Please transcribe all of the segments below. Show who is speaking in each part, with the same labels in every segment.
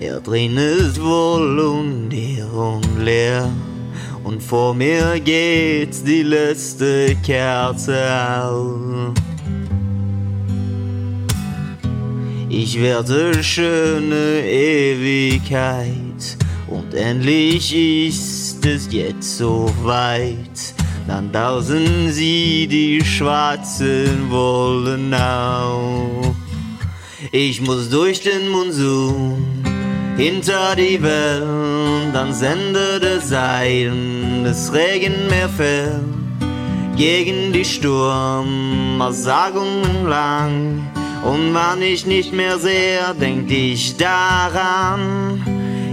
Speaker 1: Er drin ist wohl und hier und leer. Und vor mir geht die letzte Kerze aus. Ich werde schöne Ewigkeit. Und endlich ist es jetzt soweit. Dann tausen sie die schwarzen Wollen auf. Ich muss durch den Monsun hinter die Wellen, dann sendet es ein, das Regenmeer fällt gegen die Sturm aus Sagungen lang. Und wann ich nicht mehr sehe, denk ich daran.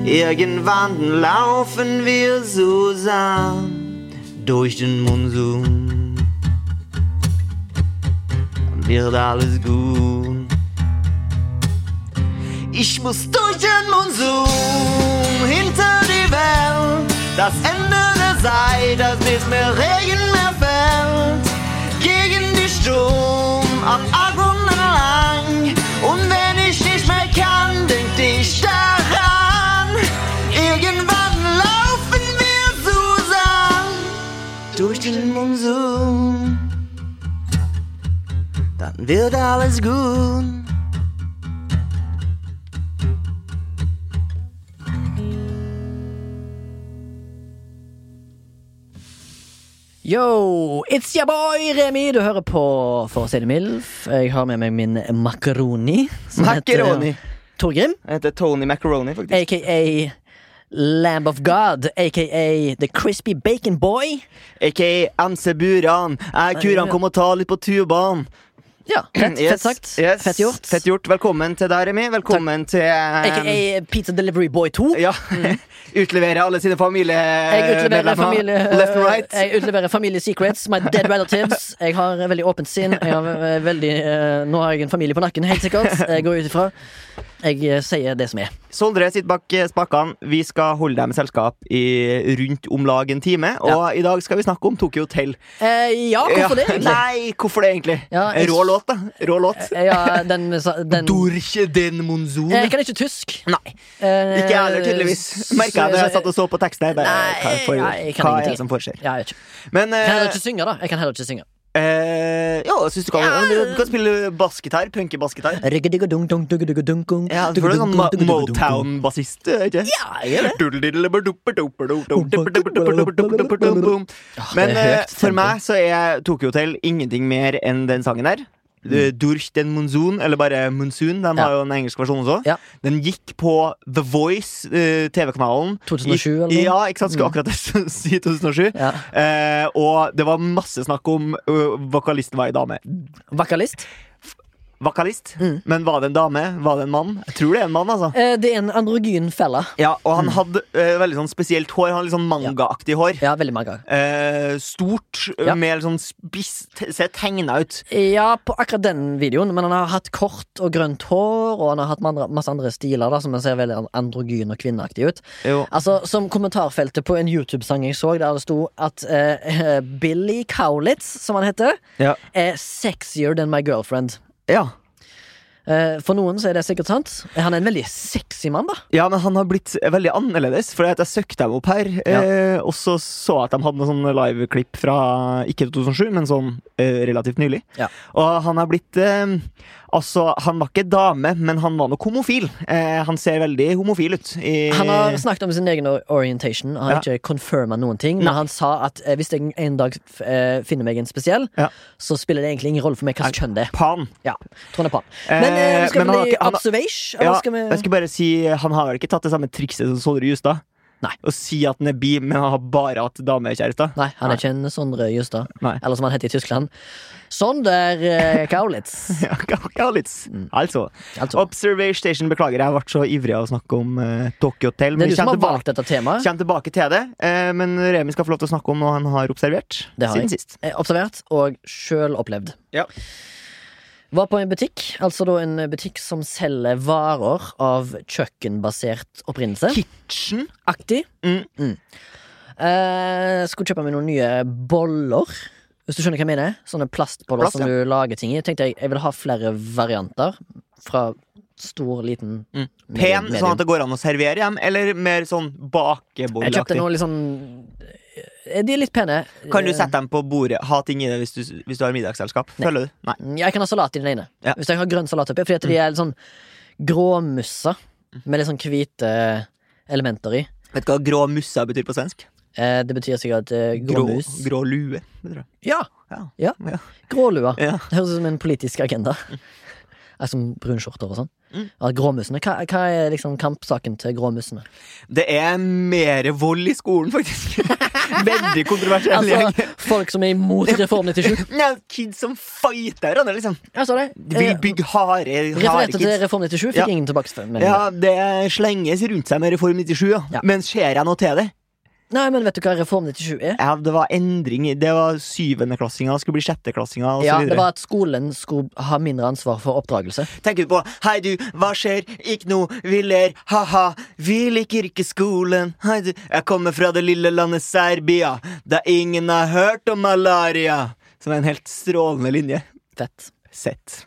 Speaker 1: Irgendwann laufen wir zusammen durch den Monsun. Dann wird alles gut. Ich muss durch den Monsun hinter die Welt. Das Ende der Zeit, das nicht mehr Regen mehr fällt. Gegen die Sturm am Abgrund lang. Und wenn ich nicht mehr kann, denk ich daran. Irgendwann laufen wir zusammen durch den Monsun. Dann wird alles gut.
Speaker 2: Yo, it's your boy Remi! Du hører på For å si det mildt. Jeg har med meg min makaroni. som heter-
Speaker 3: Macaroni.
Speaker 2: Torgrim,
Speaker 3: Han heter Tony Macaroni, faktisk.
Speaker 2: aka Lamb of God, aka The Crispy Bacon Boy.
Speaker 3: Aka MC Buran. Jeg kuran kom og ta litt på tubaen.
Speaker 2: Ja, fett, fett sagt.
Speaker 3: Yes.
Speaker 2: Fett gjort.
Speaker 3: Fett gjort. Velkommen til deg, Remi. Velkommen til eh,
Speaker 2: aka Pizza Delivery Boy 2.
Speaker 3: ja. Utlevere alle sine familie...
Speaker 2: Mm. Jeg utleverer,
Speaker 3: medlemmer.
Speaker 2: familie,
Speaker 3: Left and right.
Speaker 2: jeg utleverer familie secrets. My dead relatives. Jeg har veldig åpent sinn. Jeg har ve- veldig, eh, nå har jeg en familie på nakken, helt sikkert. Jeg går ut ifra. Jeg eh, sier det som er.
Speaker 3: Sondre sitter bak eh, spakene. Vi skal holde deg med selskap i rundt om lag en time. Og i dag skal vi snakke om Tokyo Hotel.
Speaker 2: Eh, ja, hvorfor det,
Speaker 3: Ja.
Speaker 2: egentlig?
Speaker 3: Nei, hvorfor det, egentlig?
Speaker 2: Ja, jeg- Eh,
Speaker 3: Rå låt, da. Rå låt.
Speaker 2: Ja, den, sa- den
Speaker 3: Dorche den monsun.
Speaker 2: Eh, Jeg kan ikke tysk.
Speaker 3: Nei.
Speaker 2: Eh,
Speaker 3: Ikke jeg heller, tydeligvis. Merka jeg da jeg satt og så på teksten her. Bare,
Speaker 2: Nei,
Speaker 3: hva er, for,
Speaker 2: nei, jeg kan
Speaker 3: hva er
Speaker 2: ingenting.
Speaker 3: det som foreskjer?
Speaker 2: Ja, jeg vet ikke. Jeg
Speaker 3: Men
Speaker 2: kan
Speaker 3: eh,
Speaker 2: heller ikke synge, da. Jeg kan heller ikke synge.
Speaker 3: eh, Ja, jeg syns du kan, du kan spille bassgitar. Punkebassgitar. Ja, for du er sånn Ma- Motown-bassist, er ikke
Speaker 2: Ja, jeg er det.
Speaker 3: sant? Men
Speaker 2: det er
Speaker 3: eh,
Speaker 2: høyt
Speaker 3: for
Speaker 2: tempo.
Speaker 3: meg så er Tokyo Hotel ingenting mer enn den sangen der. Eh, Durch den Monsun, eller bare Monsun. De
Speaker 2: Mm. Ja.
Speaker 3: har jo en engelsk versjon også.
Speaker 2: Ja.
Speaker 3: Den gikk på The Voice, eh, TV-kanalen.
Speaker 2: 2007
Speaker 3: Gikk-
Speaker 2: eller noe? Mm.
Speaker 3: Ja, ikke sant? Skulle akkurat si 2007.
Speaker 2: Ja.
Speaker 3: Eh, og det var masse snakk om eh, vokalisten var ei dame.
Speaker 2: Vokalist.
Speaker 3: Vokalist?
Speaker 2: Mm.
Speaker 3: Men var det en dame? Var det en mann? Jeg tror det er en mann, altså.
Speaker 2: Eh, Det er en androgyn felle.
Speaker 3: Ja, og han hadde eh, veldig sånn spesielt hår. Han hadde Litt sånn mangaaktig hår.
Speaker 2: Mm. Ja, veldig mange ganger.
Speaker 3: Eh, stort,
Speaker 2: Ja.
Speaker 3: med litt sånn spiss te- Ser tegna ut.
Speaker 2: Ja, på akkurat den videoen, men han har hatt kort og grønt hår, og han har hatt andre, masse andre stiler da, som ser veldig androgyn og kvinneaktig ut. Altså, Som kommentarfeltet på en YouTube-sang jeg så, der det sto at eh, Billy Cowlitz, som han heter,
Speaker 3: Ja.
Speaker 2: er sexier than my girlfriend.
Speaker 3: Ja.
Speaker 2: Eh, for noen så er det sikkert sant. Han er en veldig sexy mann, da.
Speaker 3: ja, men han har blitt veldig annerledes, for jeg søkte dem opp her. Eh, og så så jeg at de hadde noen sånne liveklipp fra ikke 2007, men sånn eh, relativt nylig.
Speaker 2: Ja.
Speaker 3: Og han har blitt eh, Altså, han var ikke dame, men han var nok homofil. Eh, han ser veldig homofil ut. i-
Speaker 2: Han har snakket om sin egen or- orientation. Han har
Speaker 3: Eh. Ja.
Speaker 2: ikke confirma noen ting. Men
Speaker 3: Nei.
Speaker 2: han sa at eh, hvis jeg en dag f- eh, finner meg en spesiell,
Speaker 3: Ja.
Speaker 2: så spiller det egentlig ingen rolle for meg hva slags kjønn det er.
Speaker 3: Pan.
Speaker 2: Ja, tror han er på han.
Speaker 3: Eh,
Speaker 2: Men eh, skal
Speaker 3: men han
Speaker 2: vi
Speaker 3: har
Speaker 2: bli
Speaker 3: ikke- han har-
Speaker 2: observation?
Speaker 3: Ja,
Speaker 2: eller skal vi...
Speaker 3: jeg skal bare si Han har vel ikke tatt det samme trikset som Sondre Justad?
Speaker 2: Nei.
Speaker 3: Å si at han er bi, men han har bare hatt damekjærester.
Speaker 2: Nei, han
Speaker 3: Nei.
Speaker 2: er ikke en Sondre Justad.
Speaker 3: Nei.
Speaker 2: Eller som han heter i Tyskland, Sonder eh, Kaulitz.
Speaker 3: Ja, ja, litt. Altså.
Speaker 2: Altså,
Speaker 3: Observation Station, beklager, jeg ble så ivrig av å snakke om eh, Tokyo Hotel.
Speaker 2: det
Speaker 3: Men
Speaker 2: er du som
Speaker 3: kommer
Speaker 2: har
Speaker 3: tilbake,
Speaker 2: valgt dette temaet.
Speaker 3: kjem tilbake til det. Eh, men Remi skal få lov til å snakke om noe han har observert
Speaker 2: Det har
Speaker 3: siden
Speaker 2: jeg.
Speaker 3: sist.
Speaker 2: Eh, Observert og sjøl opplevd.
Speaker 3: Ja.
Speaker 2: Var på en butikk, altså da en butikk som selger varer av kjøkkenbasert opprinnelse.
Speaker 3: Kitchen.
Speaker 2: Aktig.
Speaker 3: Mm.
Speaker 2: Eh, skulle kjøpe meg noen nye boller. Hvis du skjønner hva jeg mener? Sånne plastboller
Speaker 3: Plast,
Speaker 2: som
Speaker 3: ja.
Speaker 2: du lager ting i. Tenkte Jeg jeg vil ha flere varianter. Fra stor, liten
Speaker 3: Mm.
Speaker 2: medium,
Speaker 3: Pen,
Speaker 2: medium.
Speaker 3: sånn at det går an å servere hjem, eller mer sånn
Speaker 2: Jeg kjøpte
Speaker 3: bakebollaktig?
Speaker 2: noe litt sånn Eh, De er litt pene.
Speaker 3: Kan du
Speaker 2: Eh,
Speaker 3: sette dem på bordet, ha ting i det hvis du, hvis du har middagsselskap? Føler du? Nei.
Speaker 2: Jeg kan ha salat i den ene.
Speaker 3: Ja. Mm.
Speaker 2: Hvis jeg har grønn salat oppi. Fordi at de er litt sånn gråmussa med litt sånn hvite elementer i.
Speaker 3: Vet du hva grå mussa betyr på svensk?
Speaker 2: Eh, Det betyr sikkert eh,
Speaker 3: Grå,
Speaker 2: gråmus.
Speaker 3: grå lue. det tror jeg.
Speaker 2: Ja!
Speaker 3: Ja.
Speaker 2: Ja.
Speaker 3: Ja.
Speaker 2: Grålua.
Speaker 3: Ja.
Speaker 2: Det høres ut som en politisk agenda. Er som brunskjorter og sånn.
Speaker 3: Mm.
Speaker 2: Ja, gråmussene. Hva, hva er liksom kampsaken til gråmussene?
Speaker 3: Det er mer vold i skolen, faktisk. Veldig kontroversiell gjeng.
Speaker 2: Altså, folk som er imot Reform 97.
Speaker 3: Nei, Kids som fighter hverandre, liksom.
Speaker 2: Jeg sa det.
Speaker 3: De vil
Speaker 2: Eh,
Speaker 3: bygge harde, harde
Speaker 2: Refererte til
Speaker 3: kids.
Speaker 2: Reform 97, fikk
Speaker 3: Ja.
Speaker 2: ingen tilbakemelding.
Speaker 3: Ja, det slenges rundt seg med Reform 97, ja.
Speaker 2: Ja.
Speaker 3: men ser jeg noe til det?
Speaker 2: Nei, men vet du hva Reform 97 er?
Speaker 3: Ja, det var endring i- Det var syvendeklassinger, skulle bli sjetteklassinger
Speaker 2: Ja,
Speaker 3: osv.
Speaker 2: det var at skolen skulle ha mindre ansvar for oppdragelse.
Speaker 3: Tenker du på 'Hei, du, hva skjer? Ikke noe, vi ler, ha-ha. Vi liker ikke skolen. Hei, du. Jeg kommer fra det lille landet Serbia, da ingen har hørt om malaria. Som er en helt strålende linje.
Speaker 2: Fett.
Speaker 3: Sett.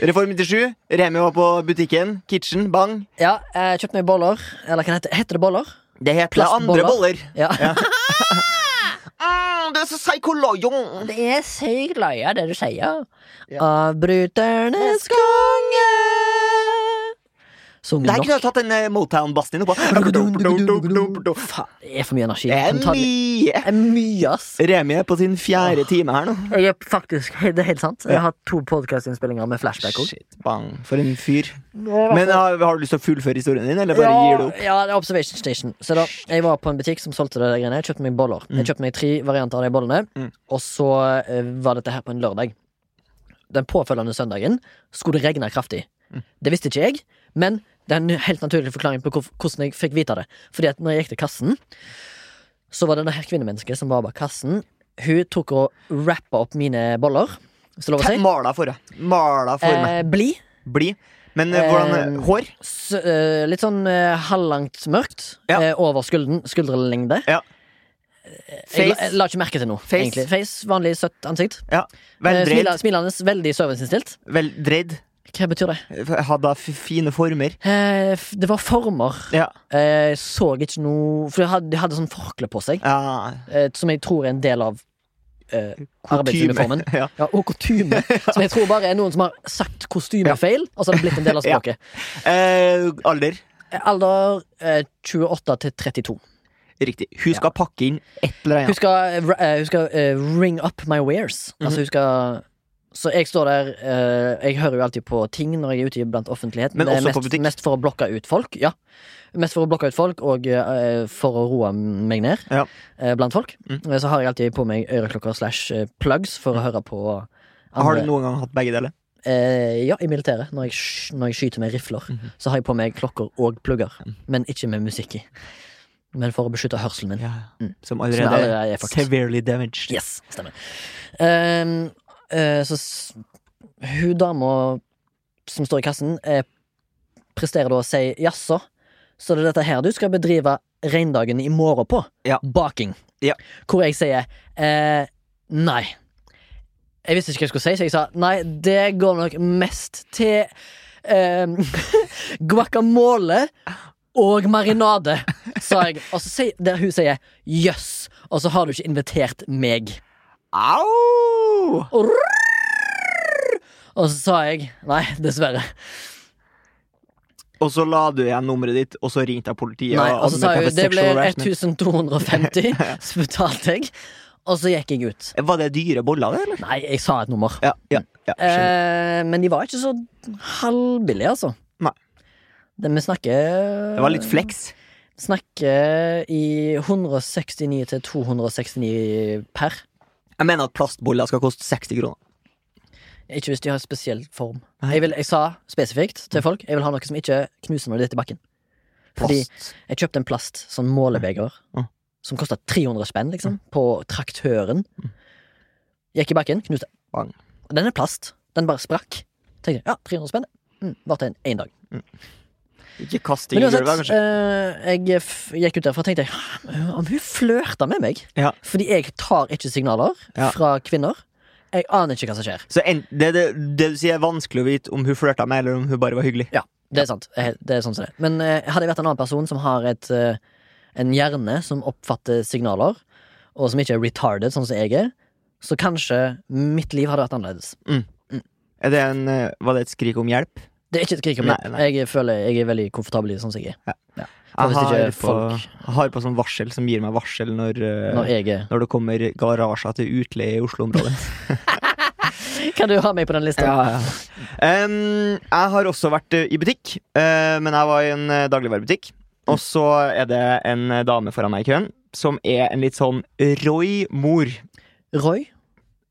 Speaker 3: Reform 97. Remi var på butikken. Kitchen. Bang.
Speaker 2: Ja, jeg kjøpte meg boller. Eller hva heter det? Heter det boller?
Speaker 3: Det heter andre
Speaker 2: Plastboller.
Speaker 3: boller.
Speaker 2: Ja.
Speaker 3: Mm, det er så psykologisk.
Speaker 2: Det er sykt løye, det du sier.
Speaker 3: Ja.
Speaker 2: Avbryternes konge. Sunget
Speaker 3: Der
Speaker 2: nok.
Speaker 3: kunne jeg tatt en eh, Motown-bass inn oppå. Det
Speaker 2: Faen, det er for mye energi.
Speaker 3: er
Speaker 2: Kan ta litt-
Speaker 3: mye.
Speaker 2: Det er mye, ass.
Speaker 3: Remi er på sin fjerde time her nå.
Speaker 2: Jeg er faktisk, det er helt sant. Jeg har to podcastinnspillinger med flashback også.
Speaker 3: Shit, bang. For en fyr. Men har, har du lyst til å fullføre historien din, eller bare gir du opp?
Speaker 2: Ja, det er Observation Station. Så da, Jeg var på en butikk som solgte det der greiene. Jeg kjøpte meg boller. Jeg kjøpte meg tre varianter av de bollene,
Speaker 3: Mm.
Speaker 2: og så eh, var dette her på en lørdag. Den påfølgende søndagen skulle det regne kraftig.
Speaker 3: Mm.
Speaker 2: Det visste ikke jeg, men det er en helt naturlig forklaring på hvorf- hvordan jeg fikk vite det. Fordi at når jeg gikk til kassen, så var det denne her kvinnemennesket som var bak kassen. Hun tok og rappa opp mine boller, hvis det er lov å si.
Speaker 3: Mala for deg. Mala for meg.
Speaker 2: Eh, Blid.
Speaker 3: Bli. Men eh, hvordan
Speaker 2: eh,
Speaker 3: Hår?
Speaker 2: S eh, litt sånn eh, halvlangt mørkt.
Speaker 3: Ja.
Speaker 2: eh, over skulderen, skuldrelengde.
Speaker 3: Ja.
Speaker 2: Jeg, la,
Speaker 3: Face?
Speaker 2: jeg la ikke merke til noe.
Speaker 3: Face?
Speaker 2: egentlig Face, Vanlig søtt ansikt.
Speaker 3: Ja.
Speaker 2: Eh,
Speaker 3: Veldreid.
Speaker 2: smila- smilende, veldig serviceinnstilt.
Speaker 3: Veldreid.
Speaker 2: Hva betyr det?
Speaker 3: Hadde f- fine former.
Speaker 2: Eh, f- det var former.
Speaker 3: Ja.
Speaker 2: Eh, så ikke noe For de hadde, de hadde sånn forkle på seg,
Speaker 3: ja.
Speaker 2: eh, som jeg tror er en del av eh, arbeidsuniformen.
Speaker 3: Kutyme. Ja.
Speaker 2: Ja, og kutyme, som jeg tror bare er noen som har sagt kostymefeil, og så har det blitt en del av
Speaker 3: Ja.
Speaker 2: språket.
Speaker 3: Eh, alder.
Speaker 2: Eh, Alder eh, 28 til 32.
Speaker 3: Riktig. Hun skal pakke inn et eller
Speaker 2: Hun
Speaker 3: annet.
Speaker 2: skal, eh, hun skal eh, ring up my wares.
Speaker 3: Mhm.
Speaker 2: Altså hun skal Så jeg står der eh, Jeg hører jo alltid på ting når jeg er ute i blant offentligheten.
Speaker 3: Men
Speaker 2: Det er
Speaker 3: også på
Speaker 2: mest,
Speaker 3: butikk?
Speaker 2: mest for å blokke ut folk. Ja. Mest for å blokke ut folk, og eh, for å roe meg ned
Speaker 3: Ja.
Speaker 2: eh, blant folk.
Speaker 3: Mm.
Speaker 2: Eh, Så har jeg alltid på meg øreklokker slash eh, plugs for å høre på andre
Speaker 3: Mhm. Har du noen gang hatt begge deler?
Speaker 2: Eh, ja, i militæret. Når jeg, sk- når jeg skyter med rifler,
Speaker 3: Mhm.
Speaker 2: så har jeg på meg klokker og plugger. Men ikke med musikk i. Men for å beskytte hørselen min.
Speaker 3: Ja.
Speaker 2: Mm.
Speaker 3: Som
Speaker 2: Som
Speaker 3: allerede
Speaker 2: allerede er
Speaker 3: er
Speaker 2: fucked.
Speaker 3: severely damaged.
Speaker 2: Yes, stemmer. Ehm, eh, så s- hun dama som står i kassen, eh, presterer da å si jaså, så det er dette her du skal bedrive reindagen i morgen på?
Speaker 3: Ja.
Speaker 2: Baking.
Speaker 3: Ja.
Speaker 2: Hvor jeg sier eh, nei. Jeg visste ikke hva jeg skulle si, så jeg sa nei, det går nok mest til ehm, guacamole og marinade, sa jeg. Og så sier, der hun sier jøss, og så har du ikke invitert meg.
Speaker 3: Au!
Speaker 2: Og rrrr! Og så sa jeg nei, dessverre.
Speaker 3: Og så la du igjen nummeret ditt, og så ringte jeg politiet.
Speaker 2: Nei, og så sa
Speaker 3: anmeldte
Speaker 2: jeg
Speaker 3: for
Speaker 2: det ble
Speaker 3: altså, sexual harassment.
Speaker 2: 1250, så betalte jeg. Og så gikk jeg ut.
Speaker 3: Var det dyre boller, det, eller?
Speaker 2: Nei, jeg sa et nummer.
Speaker 3: Ja, ja, ja skjønner.
Speaker 2: Eh, men de var ikke så halvbillige, altså.
Speaker 3: Nei.
Speaker 2: Det vi snakker
Speaker 3: Det var litt flex.
Speaker 2: Snakker i 169 til 269 per.
Speaker 3: Jeg mener at plastboller skal koste 60 kroner.
Speaker 2: Ikke hvis de har spesiell form.
Speaker 3: Nei.
Speaker 2: Jeg, vil, jeg sa spesifikt til folk Jeg vil ha noe som ikke knuser når det detter i bakken. Fordi
Speaker 3: Plast.
Speaker 2: jeg kjøpte en plast, sånn målebeger,
Speaker 3: Mm.
Speaker 2: som kosta 300 spenn, liksom, på traktøren. Gikk i bakken, knuste.
Speaker 3: Mm. Bang.
Speaker 2: Og Den er plast. Den bare sprakk. Tenkte jeg, ja, 300 spenn. Mm, Varte en, en dag.
Speaker 3: Ikke kast ting
Speaker 2: Men
Speaker 3: i gulvet,
Speaker 2: uansett,
Speaker 3: kanskje.
Speaker 2: eh, jeg f gikk ut derfra og tenkte jeg, «Hæ, om hun flørta med meg.
Speaker 3: Ja.
Speaker 2: Fordi jeg tar ikke signaler
Speaker 3: Ja.
Speaker 2: fra kvinner. Jeg aner ikke hva som skjer.
Speaker 3: Så en, det, det, det du sier, er vanskelig å vite om hun flørta med, eller om hun bare var hyggelig.
Speaker 2: Ja, det er sant. Eh, Det er sånn som det. er. Men eh, hadde jeg vært en annen person som har et, eh, en hjerne som oppfatter signaler, og som ikke er retarded, sånn som jeg er, så kanskje mitt liv hadde vært annerledes.
Speaker 3: Er det en, eh, var det et skrik om hjelp?
Speaker 2: Det er ikke et skrik om
Speaker 3: Nei,
Speaker 2: hjelp.
Speaker 3: nei.
Speaker 2: Jeg føler jeg er veldig komfortabel i det sånn som jeg er. Og
Speaker 3: Jeg
Speaker 2: hvis ikke
Speaker 3: har, på,
Speaker 2: folk-
Speaker 3: jeg har på sånn varsel som gir meg varsel når, eh,
Speaker 2: Når jeg er.
Speaker 3: når det kommer garasjer til utleie i Oslo-området.
Speaker 2: Kan du ha meg på den lista?
Speaker 3: Em, jeg har også vært eh, i butikk, eh, men jeg var i en eh, dagligvarebutikk. Og så er det en eh, dame foran meg i køen som er en litt sånn roi mor.
Speaker 2: Roy?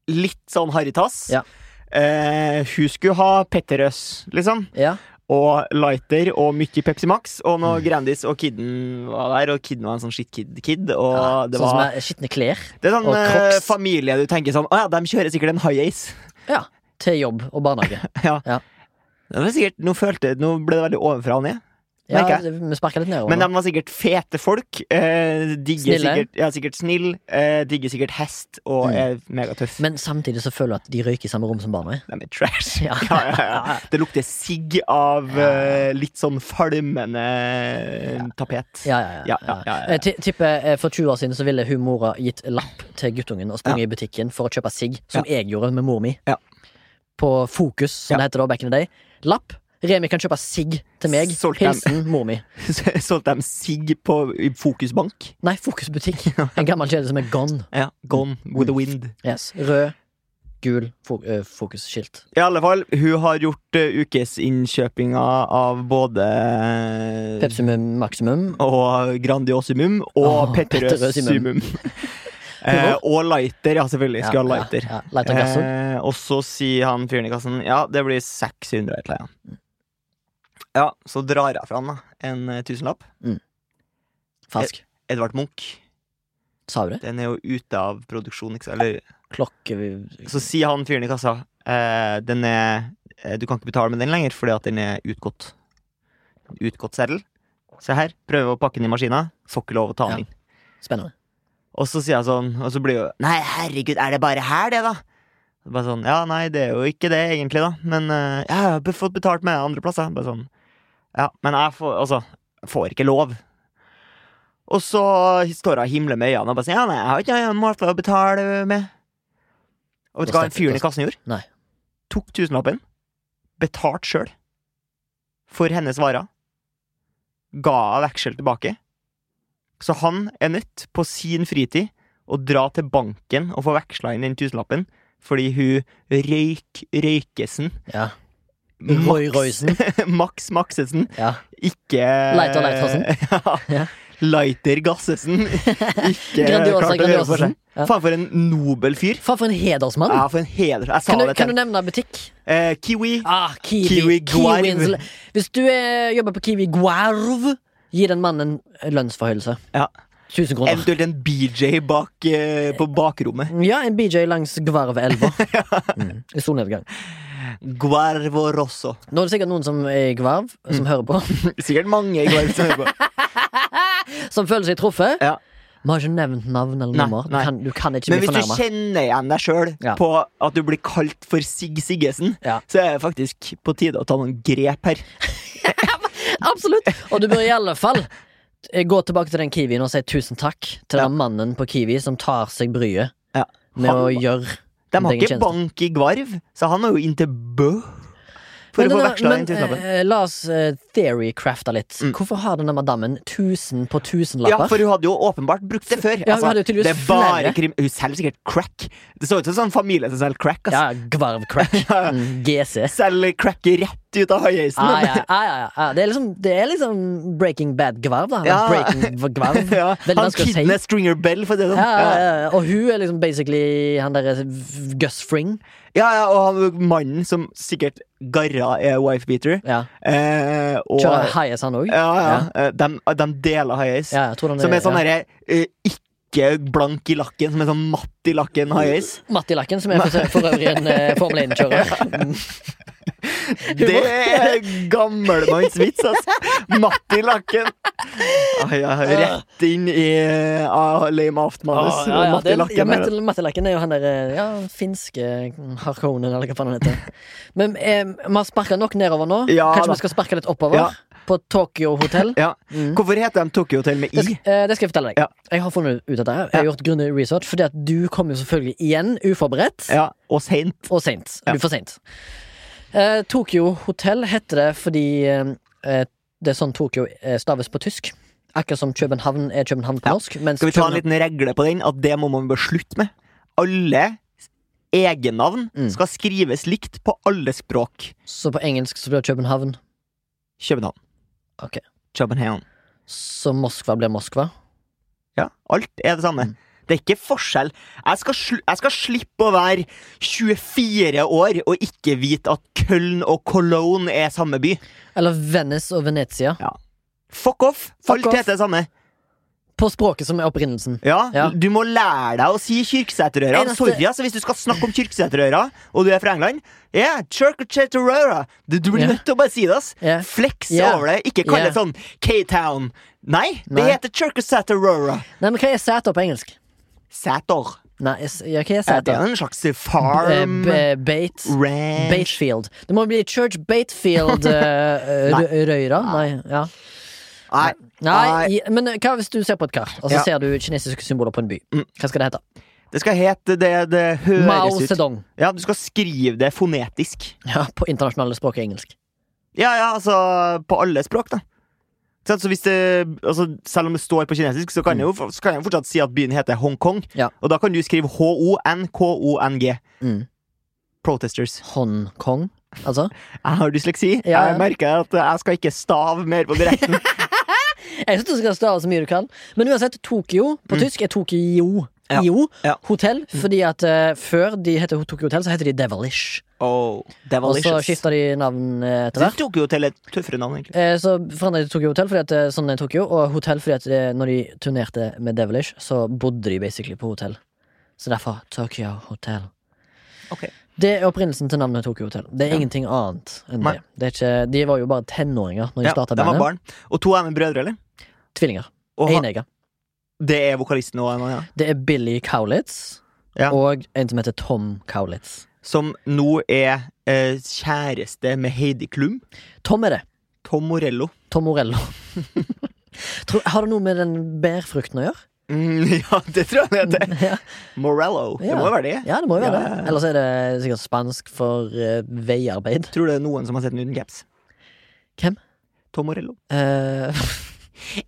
Speaker 3: Litt sånn harrytass.
Speaker 2: Ja.
Speaker 3: Eh, hun skulle ha Petterøes, liksom.
Speaker 2: Ja.
Speaker 3: Og lighter og mye Pepsi Max. Og
Speaker 2: Mm.
Speaker 3: noe Grandis og Kidden var der, og Kidden var en sånn skitt-kid-kid. Og
Speaker 2: Ja,
Speaker 3: det
Speaker 2: sånn som
Speaker 3: var
Speaker 2: er skitne klær
Speaker 3: Det er sånn
Speaker 2: og
Speaker 3: eh,
Speaker 2: Crocs.
Speaker 3: familie du tenker sånn Å ja, de kjører sikkert en high ace.
Speaker 2: ja, til jobb og barnehage.
Speaker 3: Det var sikkert, nå, følte, nå ble det veldig ovenfra og ned.
Speaker 2: Ja,
Speaker 3: Merker
Speaker 2: vi sparka litt nedover.
Speaker 3: Men de
Speaker 2: nå.
Speaker 3: var sikkert fete folk. Eh, digger
Speaker 2: Snille.
Speaker 3: sikkert, ja, sikkert snill. Eh, digger sikkert hest og
Speaker 2: Mm.
Speaker 3: er megatøff.
Speaker 2: Men samtidig så føler du at de røyker i samme rom som barna.
Speaker 3: De er trash.
Speaker 2: Ja.
Speaker 3: Ja, ja, ja. Det lukter sigg av eh, litt sånn falmende tapet.
Speaker 2: Ja, ja, ja.
Speaker 3: Ja, ja, ja, ja.
Speaker 2: Jeg ti- tipper eh, for 20 år siden så ville hun mora gitt lapp til guttungen og sprunget i butikken for å kjøpe sigg, som jeg gjorde med mor mi.
Speaker 3: Ja.
Speaker 2: På Fokus, som
Speaker 3: Ja.
Speaker 2: det heter da back in the day. Lapp. Remi kan kjøpe sigg til meg.
Speaker 3: Solgt dem.
Speaker 2: Hilsen mor mi.
Speaker 3: Solgte de sigg på i Fokusbank?
Speaker 2: Nei, Fokusbutikk. En gammel kjede som er gone.
Speaker 3: Ja. Gone with the wind.
Speaker 2: Yes. Rød, gul fo eh, fokusskilt.
Speaker 3: I alle fall, hun har gjort uh, ukesinnkjøpinga av både eh,
Speaker 2: Pepsumum maximum.
Speaker 3: og Grandiosimum og
Speaker 2: Åh,
Speaker 3: Petterøsimum.
Speaker 2: Petterøsimum.
Speaker 3: eh, og lighter, ja, selvfølgelig. Skulle ha
Speaker 2: Ja,
Speaker 3: lighter.
Speaker 2: Ja, ja. Lighter gasser.
Speaker 3: Eh, og så sier han fyren i kassen Ja, det blir 600 et eller annet. Ja, så drar jeg fra han da en eh, tusenlapp.
Speaker 2: Falsk.
Speaker 3: Edvard Munch.
Speaker 2: Sa du det?
Speaker 3: Den er jo ute av produksjon, ikke sant? Eller,
Speaker 2: Klokke
Speaker 3: så sier han fyren i kassa eh, Den er eh, Du kan ikke betale med den lenger, fordi at den er utgått. Utgått seddel. Se her. Prøver å pakke den i maskina. Får ikke lov å ta
Speaker 2: Ja.
Speaker 3: den inn.
Speaker 2: Spennende.
Speaker 3: Og så sier jeg sånn, og så blir jo Nei, herregud, er det bare her, det, da? Og Bare sånn, Ja, nei, det er jo ikke det, egentlig, da. Men eh, jeg har be- fått betalt med andre plasser. Bare sånn. Ja, men jeg får Altså, jeg får ikke lov. Og så står jeg og himler med øynene og bare sier ja, nei, jeg har ikke noen måte å betale med. Og vet du
Speaker 2: Da
Speaker 3: hva den
Speaker 2: stemte det,
Speaker 3: fyren i kassen gjorde?
Speaker 2: Nei.
Speaker 3: Tok tusenlappen, betalt sjøl for hennes varer, ga henne veksel tilbake. Så han er nødt på sin fritid å dra til banken og få veksla inn den tusenlappen, fordi hun røyk Røykesen
Speaker 2: Ja. Roy Roysen.
Speaker 3: Max Maxesen,
Speaker 2: Ja.
Speaker 3: ikke
Speaker 2: Leiter Leitersen.
Speaker 3: ja.
Speaker 2: Ja.
Speaker 3: Leiter Gassesen. Ikke
Speaker 2: Grandiosa,
Speaker 3: klarte å gjøre det for seg.
Speaker 2: Grandiosaen. Ja.
Speaker 3: Faen, for en nobel fyr.
Speaker 2: Faen, for en hedersmann!
Speaker 3: Ja, for en heder. Jeg sa
Speaker 2: Kan du,
Speaker 3: det
Speaker 2: kan du
Speaker 3: til han.
Speaker 2: nevne butikk?
Speaker 3: eh, Kiwi.
Speaker 2: Ah, Kiwi,
Speaker 3: Kiwi Guarv.
Speaker 2: Kiwiens l- Hvis du eh, jobber på Kiwi Guarv, gi den mannen en lønnsforhøyelse.
Speaker 3: Ja.
Speaker 2: 1000 kroner.
Speaker 3: Eventuelt en BJ bak, eh, på bakrommet.
Speaker 2: Ja, en BJ langs Gvarvelva. mm. I solnedgang.
Speaker 3: Guervo Rosso.
Speaker 2: Nå er det sikkert noen som er i Gvarv,
Speaker 3: Mm.
Speaker 2: som hører på,
Speaker 3: Sikkert mange i Guervo som hører på.
Speaker 2: som føler seg truffet.
Speaker 3: Ja.
Speaker 2: Vi har ikke nevnt navn eller
Speaker 3: Nei,
Speaker 2: nummer. Du
Speaker 3: nei.
Speaker 2: kan, du kan ikke
Speaker 3: Men
Speaker 2: bli
Speaker 3: hvis du
Speaker 2: fornærma.
Speaker 3: kjenner igjen deg sjøl
Speaker 2: Ja.
Speaker 3: på at du blir kalt for Sig Siggesen,
Speaker 2: Ja.
Speaker 3: så er det faktisk på tide å ta noen grep her.
Speaker 2: Absolutt! Og du bør i alle fall eh, gå tilbake til den Kiwien og si tusen takk til
Speaker 3: Ja.
Speaker 2: den mannen på Kiwi som tar seg bryet
Speaker 3: Ja.
Speaker 2: med
Speaker 3: Han-
Speaker 2: å gjøre
Speaker 3: De har
Speaker 2: deg en
Speaker 3: ikke
Speaker 2: tjeneste.
Speaker 3: bank i Gvarv, så han er jo inn til Bø for
Speaker 2: Men
Speaker 3: å få
Speaker 2: denne-
Speaker 3: veksla den
Speaker 2: men,
Speaker 3: tusenlappen. Mm.
Speaker 2: eh, La oss eh, theorycrafte litt. Hvorfor har denne madammen tusen på
Speaker 3: Ja,
Speaker 2: tusenlapper?
Speaker 3: for hun hadde jo åpenbart brukt det før. Altså,
Speaker 2: Ja, hun hadde jo tydeligvis
Speaker 3: det er bare
Speaker 2: flere.
Speaker 3: krim Hun selger sikkert crack. Det så ut som en sånn familie som selger crack. Altså.
Speaker 2: Ja, Gvarvcrack. Mm, GC.
Speaker 3: Selger crack i rapp rett ut av haiheisen.
Speaker 2: Ah, ja, ah, ja, ja, ah, Det er liksom, det er liksom Breaking Bad-gvarv, da.
Speaker 3: Ja.
Speaker 2: Breaking Gvarv.
Speaker 3: Ja,
Speaker 2: Veldig
Speaker 3: han
Speaker 2: vanskelig å si.
Speaker 3: kidner Stringer Bell, for å si det sånn.
Speaker 2: Ja, ja,
Speaker 3: Ja,
Speaker 2: ja. Og hun er liksom basically han derre Gus Fring.
Speaker 3: ja, ja, og han, mannen som sikkert garra er wifebeater.
Speaker 2: Ja.
Speaker 3: Eh, og,
Speaker 2: Kjører highest, han òg.
Speaker 3: ja, ja, eh, De, de deler haiheis.
Speaker 2: Ja, jeg tror han
Speaker 3: Som er sånn
Speaker 2: ja.
Speaker 3: herre eh, ikke blank i lakken, som er sånn matt i lakken haiheis.
Speaker 2: Matti Lakken, som er for, for øvrig en eh, Formel 1-kjører.
Speaker 3: Det er gammelmannsvits, altså. Matt i lakken. Ai, ja, rett inn i uh, lame aft-manus.
Speaker 2: Ah, Ja, ja,
Speaker 3: Matt i
Speaker 2: det- ja,
Speaker 3: lakken. er det.
Speaker 2: Matti- Matti Lakken er jo han der eh, ja, finske mm, harkonen, eller hva faen han heter. Men eh, vi har sparka nok nedover nå.
Speaker 3: Ja,
Speaker 2: Kanskje
Speaker 3: da.
Speaker 2: vi skal sparke litt oppover?
Speaker 3: Ja.
Speaker 2: På Tokyo hotell.
Speaker 3: Ja. Hvorfor heter de Tokyo Hotel med
Speaker 2: Det,
Speaker 3: i?
Speaker 2: sk- eh, det skal jeg fortelle deg.
Speaker 3: Ja.
Speaker 2: Jeg har funnet ut av det. Jeg har gjort grundig research, fordi at du kom jo selvfølgelig igjen uforberedt
Speaker 3: Ja, og seint.
Speaker 2: og seint. Du er for seint. Eh, Tokyo hotell heter det fordi eh, det er sånn Tokyo eh, staves på tysk. Akkurat som København er København på norsk. Mens
Speaker 3: Skal vi ta
Speaker 2: København-
Speaker 3: en liten regle på den? At det må man bare slutte med. Alle egennavn
Speaker 2: Mm.
Speaker 3: skal skrives likt på alle språk.
Speaker 2: Så på engelsk så blir det København.
Speaker 3: København.
Speaker 2: Ok.
Speaker 3: København.
Speaker 2: Så Moskva blir Moskva.
Speaker 3: Ja, alt er det samme.
Speaker 2: Mm.
Speaker 3: Det er ikke forskjell. Jeg skal, sl jeg skal slippe å være 24 år og ikke vite at Köln og Cologne er samme by.
Speaker 2: Eller Venice og Venezia.
Speaker 3: Fuck off!
Speaker 2: Fuck
Speaker 3: alt
Speaker 2: off.
Speaker 3: heter det samme.
Speaker 2: På språket som er opprinnelsen.
Speaker 3: Ja,
Speaker 2: Ja.
Speaker 3: Du må lære deg å si Kyrksæterøra.
Speaker 2: Eneste-
Speaker 3: Sorry, altså, hvis du skal snakke om Kyrksæterøra, og du er fra England yeah, Kyrksæterøra. Du, du blir
Speaker 2: Ja.
Speaker 3: nødt til å bare si det. ass
Speaker 2: Ja.
Speaker 3: Flex
Speaker 2: Ja.
Speaker 3: over det. Ikke
Speaker 2: Ja.
Speaker 3: kalle det sånn K-Town. Nei, det
Speaker 2: Nei.
Speaker 3: heter Kyrksæterøra.
Speaker 2: Nei, men hva er sæter på engelsk?
Speaker 3: Sæter.
Speaker 2: Nei, s- ja, hva er
Speaker 3: Det
Speaker 2: sæter?
Speaker 3: er en slags farm.
Speaker 2: Eh, b- Beit.
Speaker 3: Ranch.
Speaker 2: Batefield. Det må bli Church Batefield eh,
Speaker 3: Nei.
Speaker 2: Rø- Røyra. Nei. Ja.
Speaker 3: Nei.
Speaker 2: Nei, i- men eh, hva hvis du ser på et kart, og så
Speaker 3: Ja.
Speaker 2: ser du kinesiske symboler på en by?
Speaker 3: Mm.
Speaker 2: Hva skal det hete?
Speaker 3: Det skal hete det det høres
Speaker 2: Mao
Speaker 3: ut.
Speaker 2: Zedong.
Speaker 3: Ja, Du skal skrive det fonetisk.
Speaker 2: Ja, på internasjonale språk er engelsk.
Speaker 3: Ja, ja, altså på alle språk, da. Ikke sant? Så hvis det, altså, selv om det står på kinesisk, så kan, jeg jo, så kan jeg jo fortsatt si at byen heter Hongkong.
Speaker 2: Mm. Ja.
Speaker 3: Og da kan du skrive H-O-N-K-O-N-G.
Speaker 2: Mm.
Speaker 3: Protesters.
Speaker 2: Hongkong, altså.
Speaker 3: Jeg har dysleksi.
Speaker 2: Ja, ja.
Speaker 3: Jeg merker at jeg skal ikke stave mer på direkten.
Speaker 2: Jeg syns du skal stave så mye du kan. Men uansett, Tokyo på tysk er Tokyo.
Speaker 3: Mm. Ja.
Speaker 2: Jo,
Speaker 3: Ja. Mm.
Speaker 2: hotell, fordi at eh, før de heter Tokyo Hotel, så heter de Devilish.
Speaker 3: oh,
Speaker 2: Og så skifta de navn eh, etter
Speaker 3: Det
Speaker 2: hvert.
Speaker 3: tok jo til et tøffere navn, egentlig.
Speaker 2: Eh, Så forandra de Tokyo Hotel fordi at eh, sånn er Tokyo, og hotell fordi at eh, når de turnerte med Devilish, så bodde de basically på hotell. Så derfor Tokyo Hotel.
Speaker 3: Ok.
Speaker 2: Det er opprinnelsen til navnet Tokyo Hotel. Det er ingenting annet enn
Speaker 3: Nei.
Speaker 2: det. det er ikke, de var jo bare tenåringer når de
Speaker 3: Ja,
Speaker 2: startet
Speaker 3: de var
Speaker 2: bandet.
Speaker 3: barn. Og to av dem er brødre, eller?
Speaker 2: Tvillinger.
Speaker 3: Og han,
Speaker 2: Enegger.
Speaker 3: det er vokalisten og en annen. ja.
Speaker 2: Det er Billy Cowlitz
Speaker 3: Ja.
Speaker 2: og en som heter Tom Cowlitz.
Speaker 3: Som nå er eh, kjæreste med Heidi Klum.
Speaker 2: Tom er det.
Speaker 3: Tom Morello.
Speaker 2: Tom Morello. Tror- Har det noe med den bærfrukten å gjøre?
Speaker 3: Mm, ja, det tror jeg han heter.
Speaker 2: Ja.
Speaker 3: Morello. Det
Speaker 2: Ja.
Speaker 3: må jo være det.
Speaker 2: Ja, det må jo være
Speaker 3: Ja, ja,
Speaker 2: det.
Speaker 3: ja.
Speaker 2: Ellers er det sikkert spansk for eh, veiarbeid.
Speaker 3: Tror du det er noen som har sett den uten caps?
Speaker 2: Hvem?
Speaker 3: Tom Morello.
Speaker 2: Eh,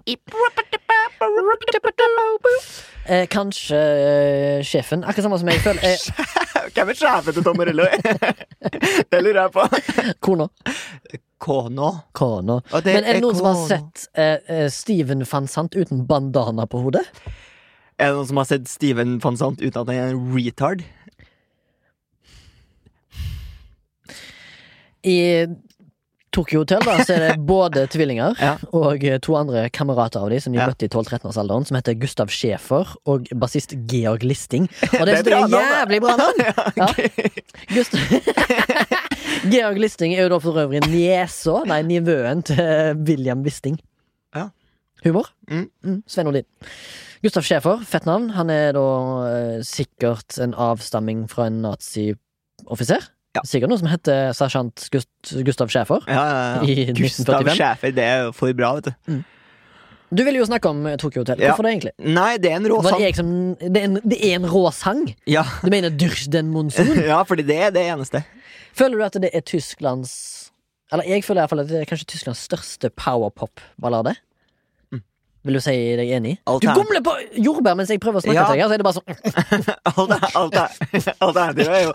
Speaker 2: eh, kanskje eh, sjefen. Akkurat samme som jeg føler. Eh,
Speaker 3: Hvem er sjefen til Tom Morello? det lurer jeg på.
Speaker 2: kona.
Speaker 3: Kono.
Speaker 2: Kona.
Speaker 3: Og det
Speaker 2: Men er det noen som har
Speaker 3: kona.
Speaker 2: sett eh, eh, Steven van Sant uten bandana på hodet?
Speaker 3: Er det noen som har sett Steven van Sant uten at han er en retard?
Speaker 2: I Tokyo Hotel da, så er det både tvillinger
Speaker 3: Ja.
Speaker 2: og eh, to andre kamerater av de som de
Speaker 3: Ja.
Speaker 2: møtte i 12-13-årsalderen, som heter Gustav Schæfer og bassist Georg Listing. Og det,
Speaker 3: Det
Speaker 2: synes
Speaker 3: er
Speaker 2: jeg er
Speaker 3: bra navn, da.
Speaker 2: jævlig bra navn! Ja. Gustav Georg Listing er jo da for øvrig niesa, nei, nivøen til eh, William Wisting.
Speaker 3: Ja.
Speaker 2: Humor.
Speaker 3: Mm.
Speaker 2: Svein Odin. Gustav Schæfer, fett navn. Han er da eh, sikkert en avstamming fra en nazioffiser.
Speaker 3: Ja.
Speaker 2: Sikkert noe som heter sersjant Gust Gustav Schæfer.
Speaker 3: Ja, ja,
Speaker 2: I
Speaker 3: ja. Gustav
Speaker 2: 1945.
Speaker 3: Schæfer, det er jo for bra, vet du.
Speaker 2: Du ville jo snakke om eh, Tokyo Hotel.
Speaker 3: Ja.
Speaker 2: Hvorfor det, egentlig?
Speaker 3: Nei, det er en rå
Speaker 2: Var det,
Speaker 3: sang.
Speaker 2: jeg som, det, er en, det er en rå sang.
Speaker 3: Ja.
Speaker 2: Du mener Durch den Monsun?
Speaker 3: ja, fordi det er det eneste.
Speaker 2: Føler du at det er Tysklands Eller jeg føler i hvert fall at det er kanskje Tysklands største powerpop-ballade? Vil du si deg enig?
Speaker 3: Mm. Alt
Speaker 2: Du
Speaker 3: er-
Speaker 2: gomler på jordbær mens jeg prøver å snakke
Speaker 3: Ja.
Speaker 2: til deg. her, Så er det bare sånn
Speaker 3: Alt er- alt er- Alternativet er jo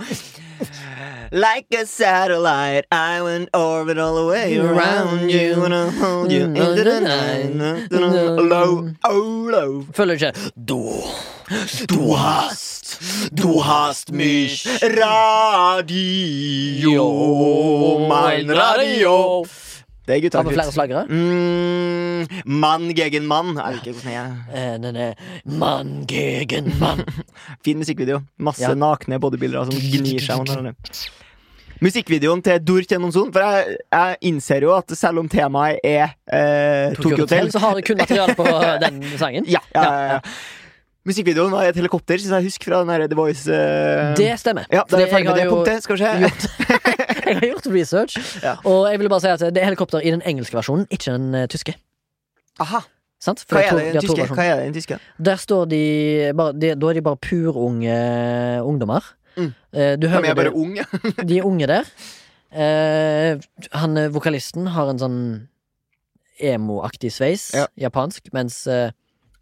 Speaker 3: Like a satellite, I went orbit all the way around you. And I'll hold you into the night. Low, oh, low.
Speaker 2: Føler ikke
Speaker 3: Du, du hast, du hast mich. Radio, mein Radio. Det er
Speaker 2: Har vi flere
Speaker 3: guttaktig.
Speaker 2: slagere?
Speaker 3: Mm, mann gegen mann. Er det ikke sånn jeg
Speaker 2: Eh, Den er Mann gegen mann.
Speaker 3: Fin musikkvideo. Masse
Speaker 2: Ja.
Speaker 3: nakne bodybuildere som gnir seg mot hverandre. Musikkvideoen til Dur Kjennomson, for jeg, jeg innser jo at selv om temaet er eh, Tokyo Hotel,
Speaker 2: Så har jeg kun materiale på eh, den sangen.
Speaker 3: ja, ja, ja, ja. Musikkvideoen var et helikopter, syns jeg husker fra den her The Voice. eh,
Speaker 2: Det stemmer.
Speaker 3: ja, da
Speaker 2: Fordi
Speaker 3: er vi ferdig med det
Speaker 2: jeg har jo-
Speaker 3: punktet. Skal vi se.
Speaker 2: gjort, jeg har gjort research,
Speaker 3: Ja.
Speaker 2: og jeg vil bare si at det er helikopter i den engelske versjonen, ikke den eh, tyske.
Speaker 3: Aha,
Speaker 2: Sant? For
Speaker 3: hva
Speaker 2: jeg
Speaker 3: er
Speaker 2: tror
Speaker 3: det i
Speaker 2: de har
Speaker 3: den
Speaker 2: to
Speaker 3: tyske?
Speaker 2: versjoner.
Speaker 3: Hva er det i den tyske?
Speaker 2: Der står de, bare, de Da er de bare purunge ungdommer.
Speaker 3: Mm.
Speaker 2: Eh, Du
Speaker 3: De
Speaker 2: hører
Speaker 3: er bare
Speaker 2: de,
Speaker 3: unge.
Speaker 2: de er unge der. Eh, han eh, vokalisten har en sånn emo-aktig sveis,
Speaker 3: Ja.
Speaker 2: japansk, mens eh,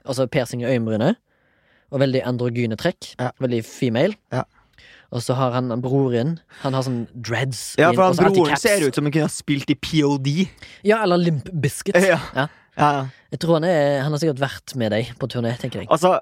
Speaker 2: Altså persing i øyenbrynet. Og veldig androgyne trekk.
Speaker 3: Ja.
Speaker 2: Veldig female.
Speaker 3: Ja.
Speaker 2: Og så har han broren. Han har sånn dreads.
Speaker 3: Ja,
Speaker 2: inn,
Speaker 3: for
Speaker 2: og så
Speaker 3: han
Speaker 2: alltid
Speaker 3: broren
Speaker 2: caps.
Speaker 3: ser ut som han kunne ha spilt i POD.
Speaker 2: Ja, eller Limp Biscuit.
Speaker 3: Ja.
Speaker 2: Ja.
Speaker 3: Ja.
Speaker 2: Jeg tror han, er, han har sikkert vært med deg på turné, tenker jeg.
Speaker 3: Altså,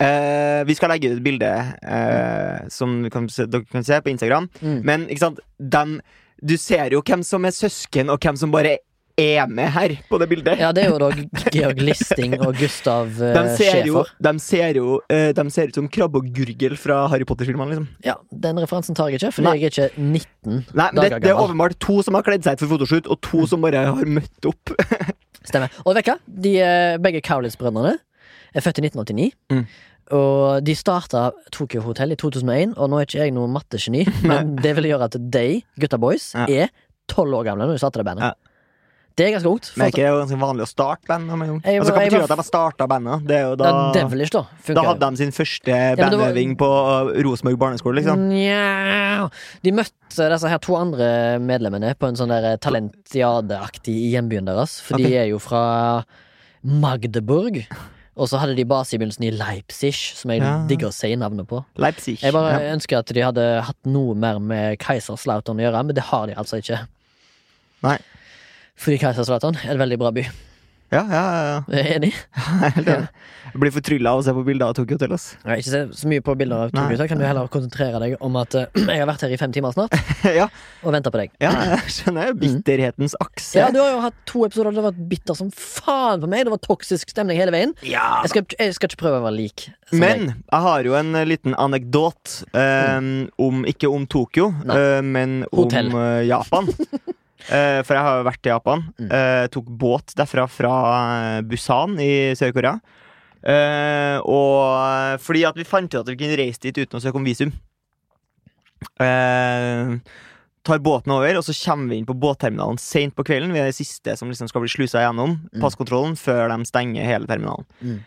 Speaker 3: eh, vi skal legge ut et bilde eh, som du kan se, dere kan se på Instagram.
Speaker 2: Mm.
Speaker 3: Men ikke sant, dem, du ser jo hvem som er søsken, og hvem som bare er med her på det bildet.
Speaker 2: Ja, det er jo da Georg Listing og Gustav eh,
Speaker 3: De ser, jo,
Speaker 2: Schäfer.
Speaker 3: de, ser jo, eh, de ser ut som Krabbe og Gurgel fra Harry Potter-filmene. Liksom.
Speaker 2: Ja, den referansen tar jeg ikke, for
Speaker 3: Nei.
Speaker 2: jeg er ikke 19
Speaker 3: Nei, men det,
Speaker 2: dager
Speaker 3: det er
Speaker 2: gammel.
Speaker 3: åpenbart to som har kledd seg ut for fotoshoot, og to som bare har møtt opp.
Speaker 2: Stemmer. Og vet du hva? De, eh, begge Cowlitz-brødrene er født i 1989.
Speaker 3: Mm.
Speaker 2: Og de starta Tokyo Hotel i 2001, og nå er ikke jeg noe mattegeni, men det vil gjøre at de, gutta boys,
Speaker 3: Ja.
Speaker 2: er tolv år gamle når de starta det bandet.
Speaker 3: Ja.
Speaker 2: Det er ganske ungt. for
Speaker 3: Men
Speaker 2: at-
Speaker 3: det er jo ganske vanlig å starte band. om en gang.
Speaker 2: Jeg-
Speaker 3: Altså, hva
Speaker 2: jeg
Speaker 3: betyr
Speaker 2: var-
Speaker 3: det at de har starta bandet? Det er jo da,
Speaker 2: det er devilish, da. Funker
Speaker 3: da
Speaker 2: jo.
Speaker 3: hadde de sin første
Speaker 2: men det var- Mm.
Speaker 3: bandøving på uh, Rosenborg barneskole, liksom.
Speaker 2: Nja De møtte disse her to andre medlemmene på en sånn der talentiadeaktig i hjembyen deres. For
Speaker 3: Ok.
Speaker 2: de er jo fra Magdeburg. Og så hadde de base i begynnelsen i Leipzig, som jeg
Speaker 3: Ja.
Speaker 2: digger å si navnet på.
Speaker 3: Leipzig.
Speaker 2: Jeg bare
Speaker 3: ja.
Speaker 2: ønsker at de hadde hatt noe mer med Keiserslautern å gjøre, men det har de altså ikke.
Speaker 3: Nei.
Speaker 2: Fordi Keiserslautern er en veldig bra by.
Speaker 3: Ja, ja, ja, ja.
Speaker 2: Enig?
Speaker 3: Jeg er helt enig. Jeg blir fortrylla av å se på bilder av Tokyo Hotel. Ass.
Speaker 2: Ja, ikke se så mye på bilder av to
Speaker 3: Nei.
Speaker 2: gutter. Kan du heller konsentrere deg om at eh, jeg har vært her i fem timer snart,
Speaker 3: ja,
Speaker 2: og venter på deg.
Speaker 3: ja, Mm. jeg skjønner. Bitterhetens akse.
Speaker 2: Ja, du har jo hatt to episoder der det har vært bitter som faen på meg. Det var toksisk stemning hele veien.
Speaker 3: Ja,
Speaker 2: Jeg skal, jeg skal ikke prøve å være lik. som
Speaker 3: Men
Speaker 2: deg.
Speaker 3: jeg har jo en eh, liten anekdot eh, om Ikke om Tokyo,
Speaker 2: Nei.
Speaker 3: eh, men om
Speaker 2: Hotell.
Speaker 3: eh, Japan. Eh, for jeg har jo vært i Japan.
Speaker 2: Mm.
Speaker 3: Eh, tok båt derfra fra eh, Busan i Sør-Korea. Eh, og fordi at vi fant ut at vi kunne reise dit uten å søke om visum. Eh, tar båten over, og så kommer vi inn på båtterminalen seint på kvelden. Vi er de siste som liksom skal bli slusa gjennom
Speaker 2: Mm.
Speaker 3: passkontrollen før de stenger hele terminalen.
Speaker 2: Mm.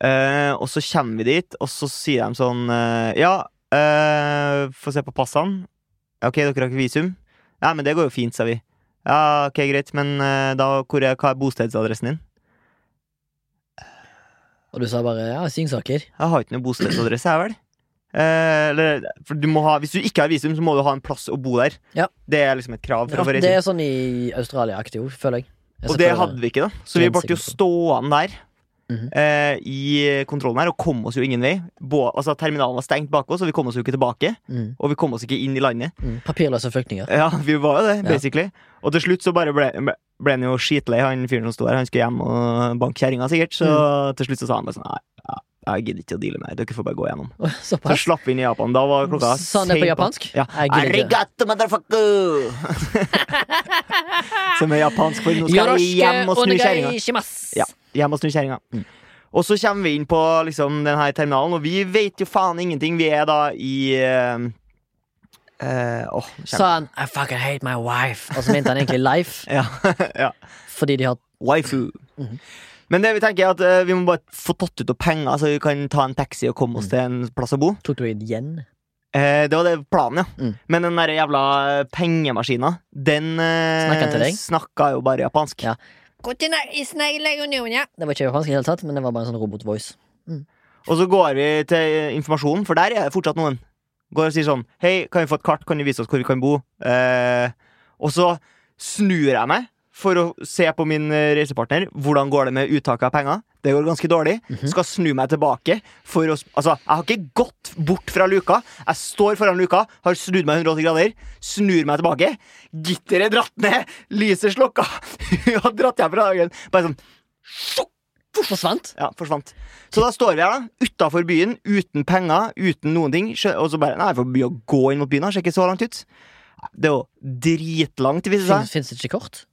Speaker 3: Eh, og så kommer vi dit, og så sier de sånn eh, Ja, eh, få se på passene. Ok, dere har ikke visum? Nei, men det går jo fint, sa vi. Ja, ok, greit, men eh, da, hvor er, hva er bostedsadressen din?
Speaker 2: Og du sa bare ja, Singsaker.
Speaker 3: Jeg har ikke noe bostedsadresse, jeg vel? Eh, eller, for du må ha, hvis du ikke har visum, så må du ha en plass å bo der.
Speaker 2: Ja.
Speaker 3: Det er liksom et krav for
Speaker 2: Ja,
Speaker 3: å få
Speaker 2: det
Speaker 3: reise.
Speaker 2: er sånn i Australia-aktig ord, føler jeg. jeg
Speaker 3: Og det hadde vi ikke, da. Så vi ble jo
Speaker 2: Grensekontroll.
Speaker 3: stående der.
Speaker 2: Mhm.
Speaker 3: eh, I kontrollen her, og kom oss jo ingen vei. Bå, altså Terminalen var stengt bak oss, og vi kom oss jo ikke tilbake.
Speaker 2: mm,
Speaker 3: Og vi kom oss ikke inn i landet.
Speaker 2: mm, Papirløse flyktninger.
Speaker 3: Ja, vi var jo det,
Speaker 2: Ja.
Speaker 3: basically. Og til slutt så bare ble, ble han jo skitlei, han fyren som sto der. Han skulle hjem og banke kjerringa, sikkert. Så
Speaker 2: Mm.
Speaker 3: til slutt så sa han bare sånn Nei, ja, jeg gidder ikke å deale med det. Dere får bare gå gjennom. Så
Speaker 2: Såpass.
Speaker 3: slapp vi inn i Japan. Da var klokka
Speaker 2: Sa han det på
Speaker 3: sent
Speaker 2: japansk?
Speaker 3: Ja.
Speaker 2: Jeg gidder ikke.
Speaker 3: Arigato, motherfucker! Som er japansk for nå skal jeg hjem og snu kjerringa. Ja, hjem og snu kjerringa.
Speaker 2: Mm.
Speaker 3: Og så kommer vi inn på liksom, denne terminalen, og vi vet jo faen ingenting. Vi er da i eh, eh, åh, nå
Speaker 2: Sa han
Speaker 3: kjenner jeg-
Speaker 2: I fucking hate my wife. Og så mente han egentlig life,
Speaker 3: ja, ja.
Speaker 2: fordi de har
Speaker 3: Waifu.
Speaker 2: Mhm.
Speaker 3: Men det vi tenker er at eh, vi må bare få tatt ut noe penger, så vi kan ta en taxi og
Speaker 2: Mm.
Speaker 3: komme oss til en plass å bo.
Speaker 2: tok det igjen.
Speaker 3: Eh, det var det planen, ja.
Speaker 2: Mm.
Speaker 3: Men den der jævla pengemaskina, den eh,
Speaker 2: Snakka han til deg?
Speaker 3: snakka jo bare japansk.
Speaker 2: Ja. Det var ikke japansk i det hele tatt, men det var bare en sånn robot-voice.
Speaker 3: Og så går vi til informasjonen, for der er det fortsatt noen. Går og sier sånn Hei, kan vi få et kart? Kan du vise oss hvor vi kan bo? Eh, og så snur jeg meg for å se på min eh, reisepartner. Hvordan går det med uttaket av penger? Det går ganske dårlig. Skal snu meg tilbake for å s- Altså, jeg har ikke gått bort fra luka. Jeg står foran luka, har snudd meg 180 grader, snur meg tilbake. Gitteret er dratt ned, lyset slukka. Hun har dratt hjem fra dagen. Bare sånn
Speaker 2: Forsvant?
Speaker 3: ja, forsvant. Så da står vi her, da. Utafor byen, uten penger, uten noen ting. Skjø- Og så bare Nei, for å gå inn mot byen her, ser ikke så langt ut. Det er jo dritlangt, viser det seg.
Speaker 2: Fins det ikke kort?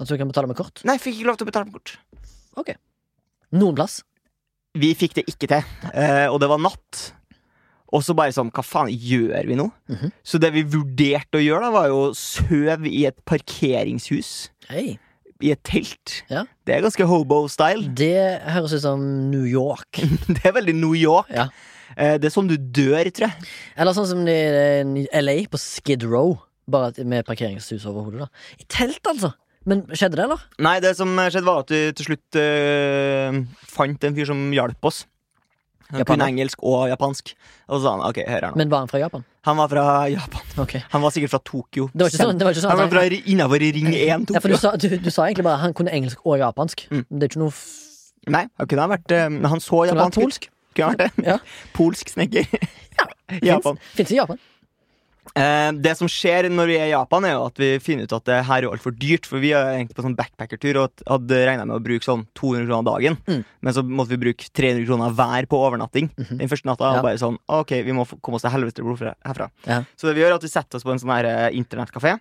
Speaker 2: At du kan betale med kort?
Speaker 3: Nei, fikk ikke lov til å betale med kort.
Speaker 2: Noen plass?
Speaker 3: Vi fikk det ikke til, eh, og det var natt. Og så bare sånn, hva faen gjør vi nå?
Speaker 2: Mhm.
Speaker 3: Så det vi vurderte å gjøre, da, var jo å søve i et parkeringshus.
Speaker 2: Hei.
Speaker 3: I et telt.
Speaker 2: Ja.
Speaker 3: Det er ganske hobo-style.
Speaker 2: Det høres ut som New York.
Speaker 3: Det er veldig New York.
Speaker 2: Ja.
Speaker 3: Eh, Det er sånn du dør, tror jeg.
Speaker 2: Eller sånn som i eh, LA, på Skid Row. Bare at- med parkeringshus over hodet. da I telt, altså! Men skjedde det, eller?
Speaker 3: Nei, det som skjedde var at vi til slutt eh, fant en fyr som hjalp oss. Han
Speaker 2: Japaner?
Speaker 3: kunne engelsk og japansk. Og så sa han ok, hør her nå.
Speaker 2: Men var han fra Japan?
Speaker 3: Han var fra Japan.
Speaker 2: Ok
Speaker 3: Han var sikkert fra Tokyo.
Speaker 2: Det var ikke sånn, det var ikke sånn
Speaker 3: Han
Speaker 2: at
Speaker 3: var fra innafor Ring 1
Speaker 2: ja, for du,
Speaker 3: Tokyo.
Speaker 2: sa, du, du sa egentlig bare at han kunne engelsk og japansk.
Speaker 3: Mm.
Speaker 2: Det er ikke noe f
Speaker 3: Nei, han kunne ha vært eh, men Han så
Speaker 2: Kunne ha vært
Speaker 3: japansk ut. Kunne ha vært det.
Speaker 2: Ja.
Speaker 3: Polsk snekker. Japan.
Speaker 2: Fins i Japan.
Speaker 3: Eh, det som skjer når vi er i Japan, er jo at vi finner ut at det her er altfor dyrt. For vi er egentlig på sånn backpackertur og hadde regna med å bruke sånn 200 kroner dagen.
Speaker 2: Mm.
Speaker 3: Men så måtte vi bruke 300 kroner hver på overnatting. Den første natta var
Speaker 2: Mhm. Ja.
Speaker 3: bare sånn OK, vi må få- komme oss til helvete bort fra- herfra.
Speaker 2: Ja.
Speaker 3: Så det vi gjør, er at vi setter oss på en sånn her eh, internettkafé,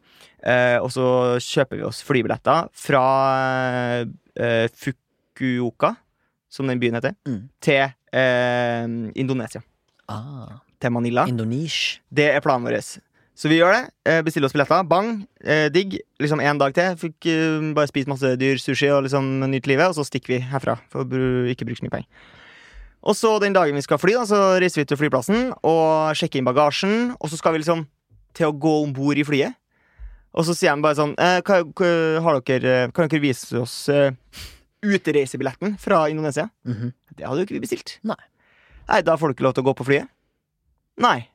Speaker 3: eh, og så kjøper vi oss flybilletter fra eh, Fukuoka, som den byen heter,
Speaker 2: Mm.
Speaker 3: til eh, Indonesia.
Speaker 2: Ah,
Speaker 3: Til Manila.
Speaker 2: Indonesh.
Speaker 3: Det er planen vår. Så vi gjør det. eh, Bestiller oss billetter. Bang. eh, Digg. Liksom en dag til. Fikk eh, bare spist masse dyr sushi og liksom nytt livet, og så stikker vi herfra. For å bru- ikke bruke så mye penger. Og så den dagen vi skal fly, da, så reiser vi til flyplassen og sjekker inn bagasjen. Og så skal vi liksom til å gå om bord i flyet. Og så sier han bare sånn eh, hva, hva, har dere, eh, Kan dere vise oss eh, utereisebilletten fra Indonesia?
Speaker 2: Mhm.
Speaker 3: Det hadde jo ikke vi bestilt.
Speaker 2: Nei.
Speaker 3: Nei, Da får du ikke lov til å gå på flyet. Nei.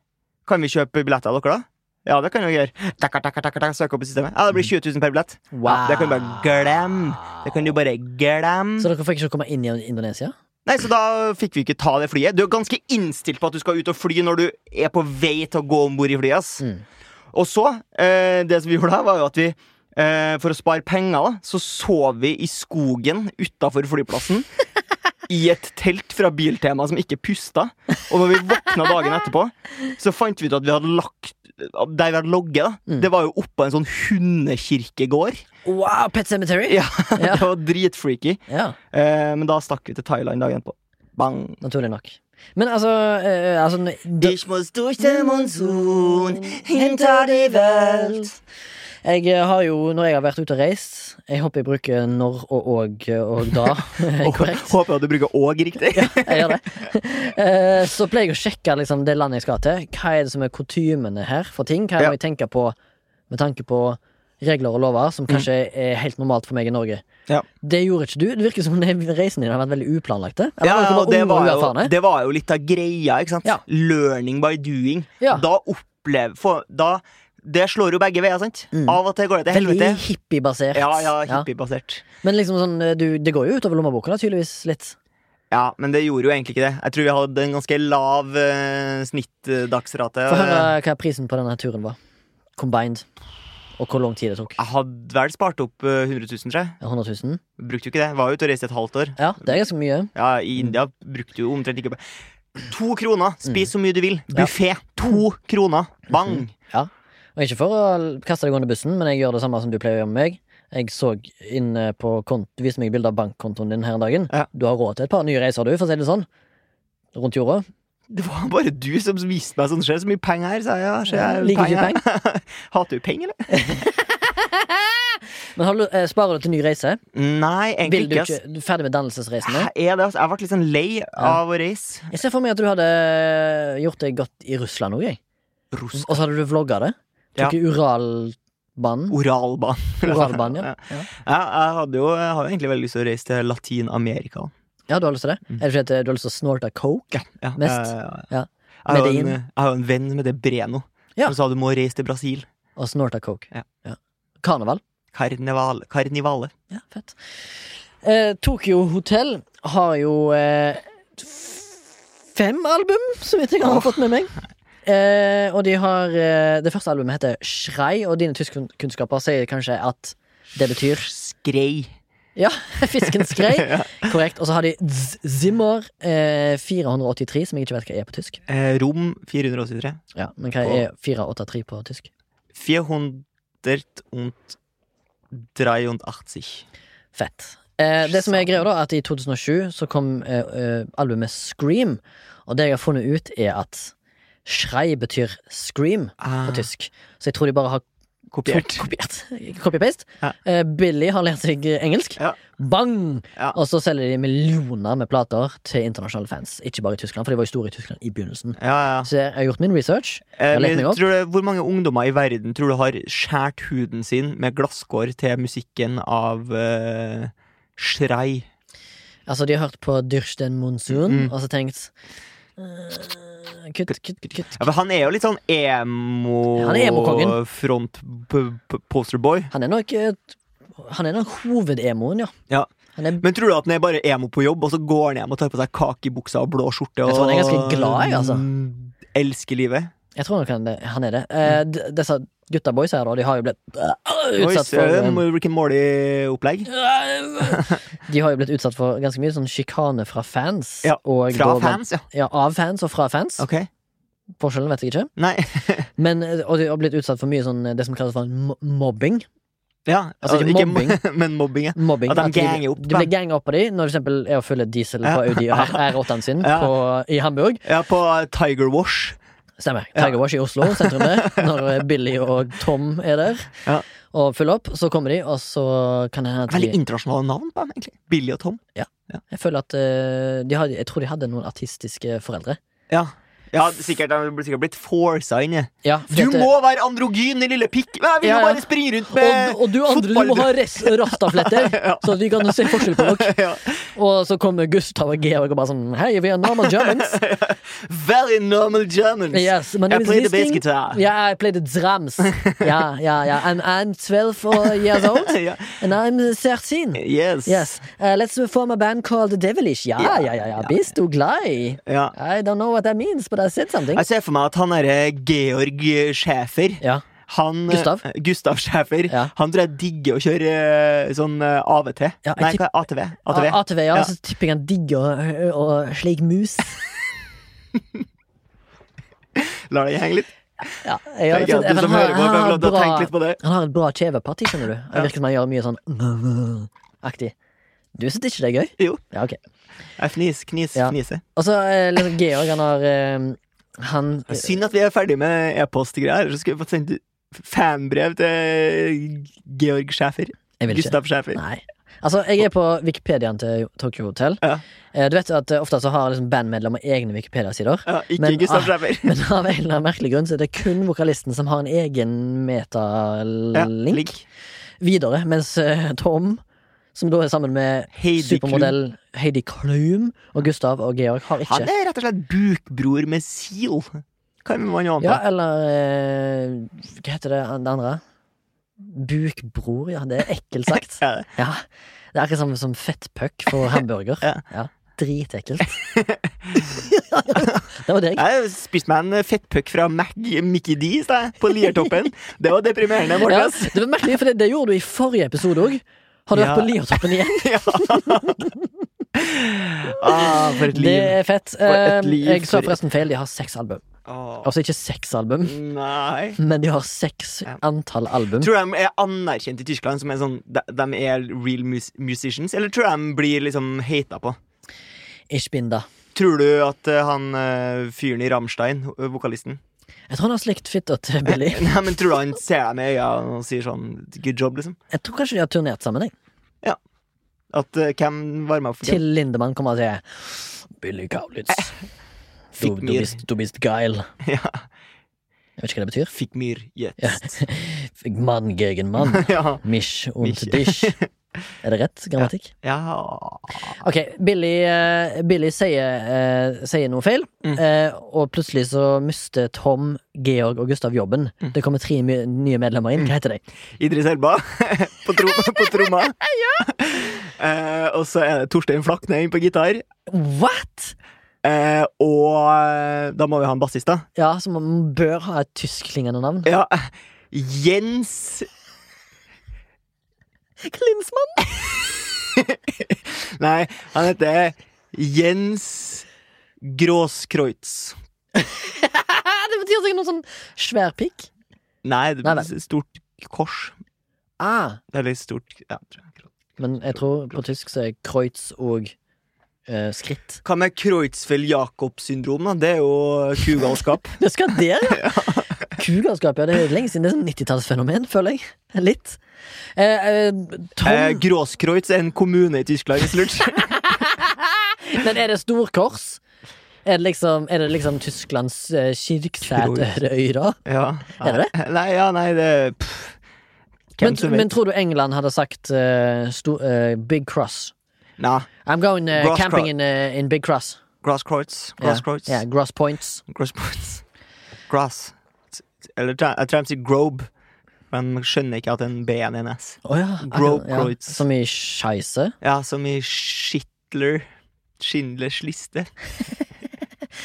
Speaker 3: Kan vi kjøpe billetter av dere, da? Ja, det kan vi gjøre. Takka, takka, takka, takka, søk opp i systemet. Ja, Det blir 20 000 per billett. Ja, det kan du bare glemme. Det kan du bare glemme.
Speaker 2: Så dere får ikke komme inn i Indonesia?
Speaker 3: Nei, så da fikk vi ikke ta det flyet. Du er ganske innstilt på at du skal ut og fly når du er på vei til å gå om bord i flyet. ass.
Speaker 2: Mm.
Speaker 3: Og så, eh, det som vi gjorde da, var jo at vi eh, for å spare penger, da, så sov vi i skogen utafor flyplassen. I et telt fra Biltema som ikke pusta. Og når vi våkna dagen etterpå, så fant vi ut at vi hadde lagt der vi hadde logget, da,
Speaker 2: Mm.
Speaker 3: det var jo oppå en sånn hundekirkegård.
Speaker 2: Wow, Pet Cemetery!
Speaker 3: Ja.
Speaker 2: Ja.
Speaker 3: Det var dritfreaky.
Speaker 2: ja,
Speaker 3: Eh, men da stakk vi til Thailand dagen etterpå. Bang!
Speaker 2: Naturlig nok. Men altså, eh, altså det-
Speaker 3: Ich muss durch den Monsun, hinter die Welt.
Speaker 2: Jeg eh, har jo, når jeg har vært ute og reist Jeg håper jeg bruker når og og og da eh, korrekt.
Speaker 3: Håper jeg at du bruker òg riktig.
Speaker 2: Jeg gjør det. Eh, Så pleier jeg å sjekke liksom, det landet jeg skal til. Hva er det som er kutymene her for ting? Hva
Speaker 3: Ja.
Speaker 2: må jeg tenke på med tanke på regler og lover som kanskje er helt normalt for meg i Norge?
Speaker 3: Mm. Ja.
Speaker 2: Det gjorde ikke du. Det virker som det- reisen din har vært veldig uplanlagte. Eller var
Speaker 3: Ja,
Speaker 2: dere
Speaker 3: og
Speaker 2: bare
Speaker 3: det,
Speaker 2: unge og
Speaker 3: var jo,
Speaker 2: uerfarne?
Speaker 3: det var jo litt av greia, ikke sant?
Speaker 2: altså, Ja.
Speaker 3: Learning by doing.
Speaker 2: Ja.
Speaker 3: Da opplever få- da, Det slår jo begge veier, sant?
Speaker 2: Mm.
Speaker 3: Av og til går det til
Speaker 2: Veldig
Speaker 3: helvete.
Speaker 2: hippiebasert.
Speaker 3: Ja, ja,
Speaker 2: Ja.
Speaker 3: hippiebasert.
Speaker 2: Men liksom sånn, eh, du, det går jo utover lommeboka, da, tydeligvis. Litt.
Speaker 3: Ja, men det gjorde jo egentlig ikke det. Jeg tror vi hadde en ganske lav eh, snittdagsrate.
Speaker 2: Få høre hva prisen på denne turen var. Combined. Og hvor lang tid det tok.
Speaker 3: Jeg hadde vel spart opp eh, 100 000, tror jeg.
Speaker 2: 100 000?
Speaker 3: Brukte jo ikke det. Var jo ute og reiste et halvt år.
Speaker 2: Ja, det er ganske mye.
Speaker 3: Ja, i
Speaker 2: Mm.
Speaker 3: India brukte jo omtrent ikke To kroner,
Speaker 2: Mm.
Speaker 3: spis så mye du vil Buffet, to kroner, bang
Speaker 2: Og ikke for å kaste deg under bussen, men jeg gjør det samme som du pleier å gjøre med meg. Jeg så inne på kont Du viste meg bilde av bankkontoen din her en dagen.
Speaker 3: Ja.
Speaker 2: Du har råd til et par nye reiser, du, for å si det sånn. Rundt jorda.
Speaker 3: Det var bare du som viste meg sånn Skjer så mye penger her, sa jeg, ja, skjer jeg
Speaker 2: Liker ikke
Speaker 3: penger. Hater du penger, eller?
Speaker 2: Men har du, eh, sparer du til ny reise?
Speaker 3: Nei, egentlig
Speaker 2: Vil du
Speaker 3: ikke,
Speaker 2: ikke du er Ferdig med dannelsesreisen
Speaker 3: ass.
Speaker 2: nå?
Speaker 3: Jeg er det, ass. Jeg ble litt sånn lei av å reise
Speaker 2: Jeg ser for meg at du hadde gjort det godt i Russland òg, jeg.
Speaker 3: Rost
Speaker 2: Og så hadde du vlogga det.
Speaker 3: Ja.
Speaker 2: Tok i Uralbanen.
Speaker 3: Oralbanen
Speaker 2: Uralbanen, ja. ja.
Speaker 3: ja, Jeg hadde jo, jeg har jo egentlig veldig lyst til å reise til Latin-Amerika
Speaker 2: Mm. eh, Ja, du har lyst til det? Er det fordi at du har lyst til å snorte coke?
Speaker 3: ja,
Speaker 2: Mest?
Speaker 3: ja, ja, ja.
Speaker 2: Ja.
Speaker 3: Jeg har jo en,
Speaker 2: Medellin.
Speaker 3: jeg har jo en venn med det Breno
Speaker 2: Ja.
Speaker 3: som sa du må reise til Brasil.
Speaker 2: Og snorta coke.
Speaker 3: Ja.
Speaker 2: Karneval.
Speaker 3: Karneval, karnivale.
Speaker 2: Ja, fett. Eh, Tokyo Hotel har jo eh, f- fem album, så vidt jeg har fått med meg. Eh, og de har eh, Det første albumet heter Schrei, og dine tyskkunnskaper sier kanskje at det betyr
Speaker 3: Skrei.
Speaker 2: Ja, fisken skrei. Korrekt. Og så har de Z- Zimmer eh, 483, som jeg ikke vet hva er på tysk.
Speaker 3: Eh, rom 483.
Speaker 2: Ja, Men hva er 483 på tysk?
Speaker 3: 483.
Speaker 2: Fett. Eh, det som er greia da, er at i 2007 så kom eh, eh, albumet Scream, og det jeg har funnet ut, er at Schrei betyr scream
Speaker 3: Ah,
Speaker 2: på tysk. Så jeg tror de bare har
Speaker 3: kopiert.
Speaker 2: kopiert. Copy-paste.
Speaker 3: Ja.
Speaker 2: Eh, Billy har lært seg eh, engelsk.
Speaker 3: Ja.
Speaker 2: Bang!
Speaker 3: Ja.
Speaker 2: Og så selger de millioner med plater til internasjonale fans. Ikke bare i Tyskland, for de var jo store i Tyskland i begynnelsen.
Speaker 3: Ja, ja.
Speaker 2: Så jeg har gjort min research.
Speaker 3: Eh,
Speaker 2: Jeg
Speaker 3: men
Speaker 2: leter meg opp.
Speaker 3: tror du, hvor mange ungdommer i verden tror du har skåret huden sin med glasskår til musikken av eh, Schrei?
Speaker 2: Altså, de har hørt på Dyrsten Monsun
Speaker 3: Mm.
Speaker 2: og så tenkt eh, Kutt, kutt, kutt. kutt.
Speaker 3: Ja, for han er jo litt sånn
Speaker 2: Han er emokongen.
Speaker 3: emo-front-posterboy.
Speaker 2: Han er nok eh, Han er nok hovedemoen, ja.
Speaker 3: Ja.
Speaker 2: Han er,
Speaker 3: Men tror du at han er bare emo på jobb, og så går han hjem og tar på seg kakebuksa og blå skjorte?
Speaker 2: Jeg tror han er ganske
Speaker 3: og-
Speaker 2: glad i, altså.
Speaker 3: Mm, Elsker livet.
Speaker 2: jeg tror nok han, han er det. Eh, d- disse gutta boys her, da, de har jo blitt eh,
Speaker 3: Mm. Oi,
Speaker 2: utsatt for
Speaker 3: søren,
Speaker 2: eh,
Speaker 3: Rick and Morty-opplegg.
Speaker 2: De har jo blitt utsatt for ganske mye sånn sjikane fra fans.
Speaker 3: Ja,
Speaker 2: og
Speaker 3: Fra
Speaker 2: da blant-
Speaker 3: fans, ja.
Speaker 2: Ja, av fans og fra fans.
Speaker 3: Ok.
Speaker 2: Forskjellen vet jeg ikke.
Speaker 3: Nei.
Speaker 2: Men, eh, og de har blitt utsatt for mye sånn eh, det som kalles for en mo- mobbing.
Speaker 3: Ja,
Speaker 2: Altså, ikke mobbing.
Speaker 3: men mobbing, ja.
Speaker 2: mobbing
Speaker 3: At de
Speaker 2: de-
Speaker 3: ganger opp,
Speaker 2: De
Speaker 3: da.
Speaker 2: blir ganga opp på de når du for eksempel er og fyller diesel
Speaker 3: Ja.
Speaker 2: på Audi og R- R8-en sin
Speaker 3: Ja.
Speaker 2: på, i Hamburg.
Speaker 3: ja. På uh, Tiger Wash.
Speaker 2: Stemmer.
Speaker 3: Ja.
Speaker 2: Tiger Wash i Oslo, sentrum der, når eh, Billy og Tom er der
Speaker 3: Ja.
Speaker 2: og fyller opp. Så kommer de, og så kan det hende at
Speaker 3: Veldig
Speaker 2: de
Speaker 3: internasjonale navn på dem, egentlig. Billy og Tom.
Speaker 2: Jeg føler at eh, de hadde, Jeg tror de hadde noen artistiske foreldre.
Speaker 3: Ja, ja sikkert, De blir sikkert blitt forsa inn i
Speaker 2: Ja, fordi at-
Speaker 3: Du må være androgyn, din lille pikk! Nei, jeg vil
Speaker 2: Ja,
Speaker 3: jo
Speaker 2: ja.
Speaker 3: bare springe rundt
Speaker 2: og,
Speaker 3: med
Speaker 2: og du andre, du må ha res- rastafletter, så at vi kan se forskjell på dere.
Speaker 3: ja.
Speaker 2: Og så kommer Gustav og Georg og bare sånn Hei, vi er normal Germans.
Speaker 3: Very normal Germans.
Speaker 2: Yes, my name
Speaker 3: I
Speaker 2: is
Speaker 3: play the bass
Speaker 2: Listing.
Speaker 3: guitar.
Speaker 2: Yeah, I played the drums. Yeah, yeah, yeah. And I'm 12 or- years old,
Speaker 3: Ja.
Speaker 2: and I'm 13.
Speaker 3: Yes.
Speaker 2: Yes, uh, let's form a band called The Devilish. Ja, ja,
Speaker 3: Ja,
Speaker 2: ja, ja. Bist du glad i?
Speaker 3: Ja.
Speaker 2: I don't know what that means, but I said something.
Speaker 3: Jeg ser for meg at han derre Georg Schæfer
Speaker 2: Ja,
Speaker 3: han,
Speaker 2: Gustav?
Speaker 3: eh, Gustav Schæfer.
Speaker 2: Ja.
Speaker 3: Han tror jeg digger å kjøre eh, sånn eh, AVT.
Speaker 2: Ja, jeg
Speaker 3: Nei,
Speaker 2: tipp-
Speaker 3: hva er ATV? ATV.
Speaker 2: A- ATV, ja,
Speaker 3: Ja.
Speaker 2: Så tipper jeg han digger å- å å slik mus.
Speaker 3: La det henge litt.
Speaker 2: Ja, jeg,
Speaker 3: Det er greit, du som hører på, bør vel ha tenkt litt på det.
Speaker 2: han har et bra kjeveparti, skjønner du. Det virker som han gjør mye sånn aktig. Du syns ikke det er gøy?
Speaker 3: Jo.
Speaker 2: Ja, ok.
Speaker 3: Jeg fnis, knis,
Speaker 2: Ja.
Speaker 3: fnise.
Speaker 2: Og så eh, liksom Georg, han har eh, Han
Speaker 3: Synd at vi er ferdig med e-postgreier. Så skulle vi fått sendt fanbrev til Georg Schæfer.
Speaker 2: Jeg vil ikke.
Speaker 3: Gustav Schæfer.
Speaker 2: Nei. Altså, jeg er på Wikipediaen til Tokyo Hotel.
Speaker 3: Ja.
Speaker 2: Eh, Du vet at eh, ofte så har liksom bandmedlemmer egne Wikipedia-sider.
Speaker 3: Ja, ikke
Speaker 2: Men-
Speaker 3: Gustav
Speaker 2: ah.
Speaker 3: Schæfer.
Speaker 2: Men av en eller annen merkelig grunn så er det kun vokalisten som har en egen
Speaker 3: Ja,
Speaker 2: metalink
Speaker 3: link.
Speaker 2: videre, mens eh, Tom, som da er sammen med
Speaker 3: Heidi Klum.
Speaker 2: supermodell Heidi Klum og Gustav og Georg, har ikke
Speaker 3: Han er rett og slett bukbror med sil. Kan man jo
Speaker 2: Ja,
Speaker 3: anta.
Speaker 2: eller eh, Hva heter det, det andre? Bukbror, ja. Det er ekkelt sagt.
Speaker 3: Ja.
Speaker 2: Ja, Det er akkurat som, som fettpuck for hamburger.
Speaker 3: Ja.
Speaker 2: Ja, Dritekkelt. det var deg.
Speaker 3: Jeg spiste meg en eh, fettpuck fra Mac Mickey D's da, på Liertoppen. Det var deprimerende.
Speaker 2: Ja,
Speaker 3: Morten.
Speaker 2: det var merkelig, for det, det gjorde du i forrige episode òg. Har du
Speaker 3: Ja.
Speaker 2: vært på Liertoppen igjen?
Speaker 3: Ja. Ah, for et
Speaker 2: Det
Speaker 3: liv.
Speaker 2: er fett.
Speaker 3: et
Speaker 2: Eh,
Speaker 3: liv
Speaker 2: jeg sa
Speaker 3: for-
Speaker 2: forresten feil. De har seks album.
Speaker 3: Åh,
Speaker 2: Altså ikke seks album,
Speaker 3: nei.
Speaker 2: men de har seks
Speaker 3: Ja.
Speaker 2: antall album.
Speaker 3: Tror du de er anerkjent i Tyskland som en sånn de, de er real mus musicians, eller tror du de blir liksom hata på?
Speaker 2: Ich bin da.
Speaker 3: Tror du at eh, han eh, fyren i Rammstein, eh, vokalisten
Speaker 2: Jeg tror han har slikt fitta til Billy.
Speaker 3: Nei, men Tror du han ser dem i øynene og sier sånn good job, liksom?
Speaker 2: Jeg tror kanskje de har turnert sammen. Jeg.
Speaker 3: At eh, hvem varma opp for hvem?
Speaker 2: Til Lindemann kommer og sier Billy Kaulitz. Du,
Speaker 3: Fikk
Speaker 2: du,
Speaker 3: mye-
Speaker 2: bist, du bist geil.
Speaker 3: Ja.
Speaker 2: Jeg vet ikke hva det betyr.
Speaker 3: Fikk mir jetzt.
Speaker 2: Mann gegen mann.
Speaker 3: Ja.
Speaker 2: Misch und
Speaker 3: Misch.
Speaker 2: dich. Er det rett grammatikk?
Speaker 3: ja.
Speaker 2: Ok, Billy, eh, Billy sier, eh, sier noe feil,
Speaker 3: Mm.
Speaker 2: eh, og plutselig så mister Tom, Georg og Gustav jobben. Det kommer tre my- nye medlemmer inn. Hva heter de?
Speaker 3: Idris Elba på, trom på tromma. Eh, og så er det Torstein Flakne inn på gitar.
Speaker 2: What?!
Speaker 3: Eh, og eh, da må vi ha en bassist, da.
Speaker 2: Ja, så man bør ha et tyskklingende navn.
Speaker 3: Ja. Jens
Speaker 2: Klinsmann!
Speaker 3: Nei, han heter Jens Gråskreutz.
Speaker 2: det betyr sikkert noe sånn svær pikk.
Speaker 3: Nei, det
Speaker 2: Nei,
Speaker 3: blir
Speaker 2: nei.
Speaker 3: et stort kors.
Speaker 2: Ah,
Speaker 3: Eller et stort ja, tror jeg.
Speaker 2: men jeg tror på tysk så er kreutz og eh, skritt.
Speaker 3: Hva med Kreutzfeldt-Jakob-syndrom? da? Det er jo kugalskap.
Speaker 2: Det skal der, ja! Kugalskap, ja. Det er lenge siden. Det er sånn 90-tallsfenomen, føler jeg. Litt. Eh, eh, Tom
Speaker 3: eh, Gråskreutz er en kommune i Tyskland, hvis du lurte.
Speaker 2: Men er det storkors? Er det liksom, er det liksom Tysklands eh, kirksæterøy, da?
Speaker 3: ja.
Speaker 2: Er det
Speaker 3: Nei, ja, nei, det pff. Hvem
Speaker 2: Men,
Speaker 3: som vet?
Speaker 2: men tror du England hadde sagt eh, sto, eh, Big Cross?
Speaker 3: Nei.
Speaker 2: I'm going eh,
Speaker 3: Grass
Speaker 2: camping
Speaker 3: Cross.
Speaker 2: in, eh, in Big Cross.
Speaker 3: Grasskreutz.
Speaker 2: Ja,
Speaker 3: Grasskreutz.
Speaker 2: ja, Gross Points.
Speaker 3: Grasskreutz. Grass. Eller jeg tror jeg tror de sier grobe, men jeg skjønner ikke at en B er en S.
Speaker 2: Å ja.
Speaker 3: Gross
Speaker 2: ja,
Speaker 3: Points.
Speaker 2: Som i scheisse.
Speaker 3: Ja, som i Schitler. Schindlers liste.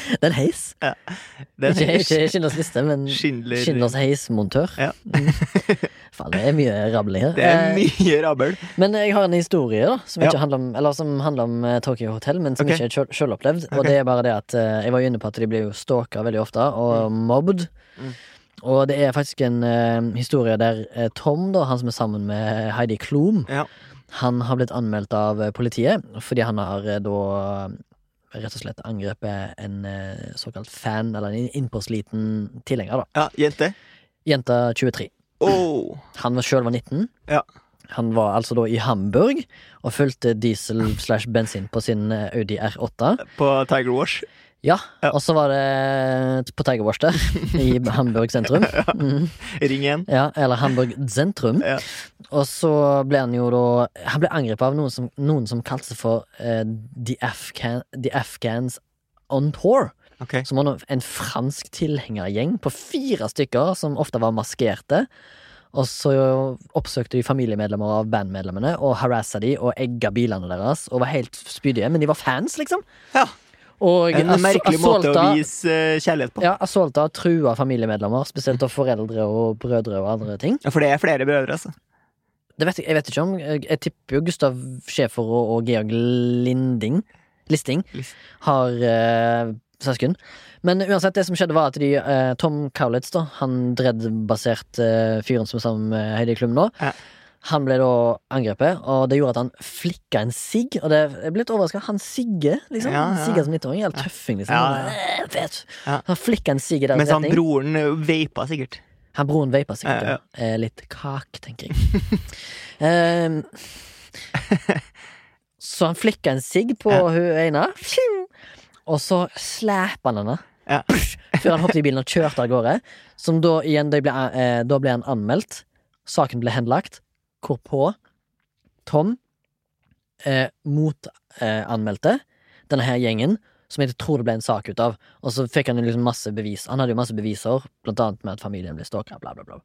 Speaker 2: Det er en heis.
Speaker 3: Det er
Speaker 2: ikke ikke Schindlers liste, men
Speaker 3: Schindler-
Speaker 2: Schindlers heismontør.
Speaker 3: Ja.
Speaker 2: Mm. Faen, det er mye rabling her.
Speaker 3: Det er
Speaker 2: Eh,
Speaker 3: mye rabbel.
Speaker 2: Men jeg har en historie da som, ikke
Speaker 3: Ja.
Speaker 2: handler, om, eller som handler om eh, Tokyo Hotel, men som
Speaker 3: Ok.
Speaker 2: ikke er sjøl- sjølopplevd. Og
Speaker 3: Ok.
Speaker 2: det er bare det at eh, jeg var jo inne på at de blir jo stalka veldig ofte, og mobbed.
Speaker 3: Mm.
Speaker 2: Og det er faktisk en eh, historie der eh, Tom, da, han som er sammen med Heidi Klum,
Speaker 3: Ja.
Speaker 2: han har blitt anmeldt av eh, politiet fordi han har eh, da eh, rett og slett angrepet en eh, såkalt fan, eller en innpåsliten tilhenger, da.
Speaker 3: Ja, jente.
Speaker 2: Jenta 23.
Speaker 3: Oh.
Speaker 2: Han var sjøl var 19.
Speaker 3: Ja.
Speaker 2: Han var altså da i Hamburg og fulgte diesel slash bensin på sin eh, Audi R8.
Speaker 3: På Tiger Wash.
Speaker 2: Ja,
Speaker 3: Ja.
Speaker 2: og så var det på Tiger Wash der, i Hamburg sentrum. Mm,
Speaker 3: Ring igjen.
Speaker 2: ja, eller Hamburg sentrum.
Speaker 3: Ja.
Speaker 2: Og så ble han jo da Han ble angrepet av noen som, noen som kalte seg for eh, the, Afghan, the Afghans on tour.
Speaker 3: Ok.
Speaker 2: Som var en fransk tilhengergjeng på fire stykker som ofte var maskerte. Og så oppsøkte de familiemedlemmer av bandmedlemmene og harassa de og egga bilene deres. Og var helt spydige, men de var fans, liksom.
Speaker 3: Ja.
Speaker 2: Og
Speaker 3: En
Speaker 2: ass-
Speaker 3: merkelig måte å
Speaker 2: assaulta-
Speaker 3: vise eh, kjærlighet på.
Speaker 2: ja, assaulta og trua familiemedlemmer, spesielt av foreldre og brødre og andre ting.
Speaker 3: Ja, For det er flere brødre, altså.
Speaker 2: Det vet jeg, jeg vet ikke om Jeg, jeg tipper jo Gustav Schæfer og, og Georg Linding Listing
Speaker 3: List.
Speaker 2: har eh, søsken. Men uansett, det som skjedde, var at de, eh, Tom Cowlitz, da, han dreddbasert eh, fyren som er sammen med Heidi Klum nå,
Speaker 3: Ja.
Speaker 2: han ble da angrepet, og det gjorde at han flikka en sigg. Og det, jeg ble litt overraska. Han sigger, liksom.
Speaker 3: Ja,
Speaker 2: Han
Speaker 3: ja.
Speaker 2: Sigger som 19-åring. Helt tøffing, liksom.
Speaker 3: Ja, ja.
Speaker 2: Øh, Vet. du.
Speaker 3: Ja.
Speaker 2: Han flikka en sigg i den
Speaker 3: Mens han
Speaker 2: retning.
Speaker 3: broren eh, veipa sikkert.
Speaker 2: Han broren veipa sikkert
Speaker 3: Ja, ja.
Speaker 2: ja, Eh, litt kak, tenker jeg. Ehm, så han flikka en sigg på
Speaker 3: Ja.
Speaker 2: hun ene, Pshing! og så slæpa han henne.
Speaker 3: Ja.
Speaker 2: Psh! Før han hoppet i bilen og kjørte av gårde. Som da igjen de ble, eh, Da ble han anmeldt. Saken ble henlagt. Hvorpå Tom eh, motanmeldte denne her gjengen, som jeg tror det ble en sak ut av. Og så fikk han jo liksom masse bevis. Han hadde jo masse beviser, blant annet med at familien ble stalka, bla, bla, bla.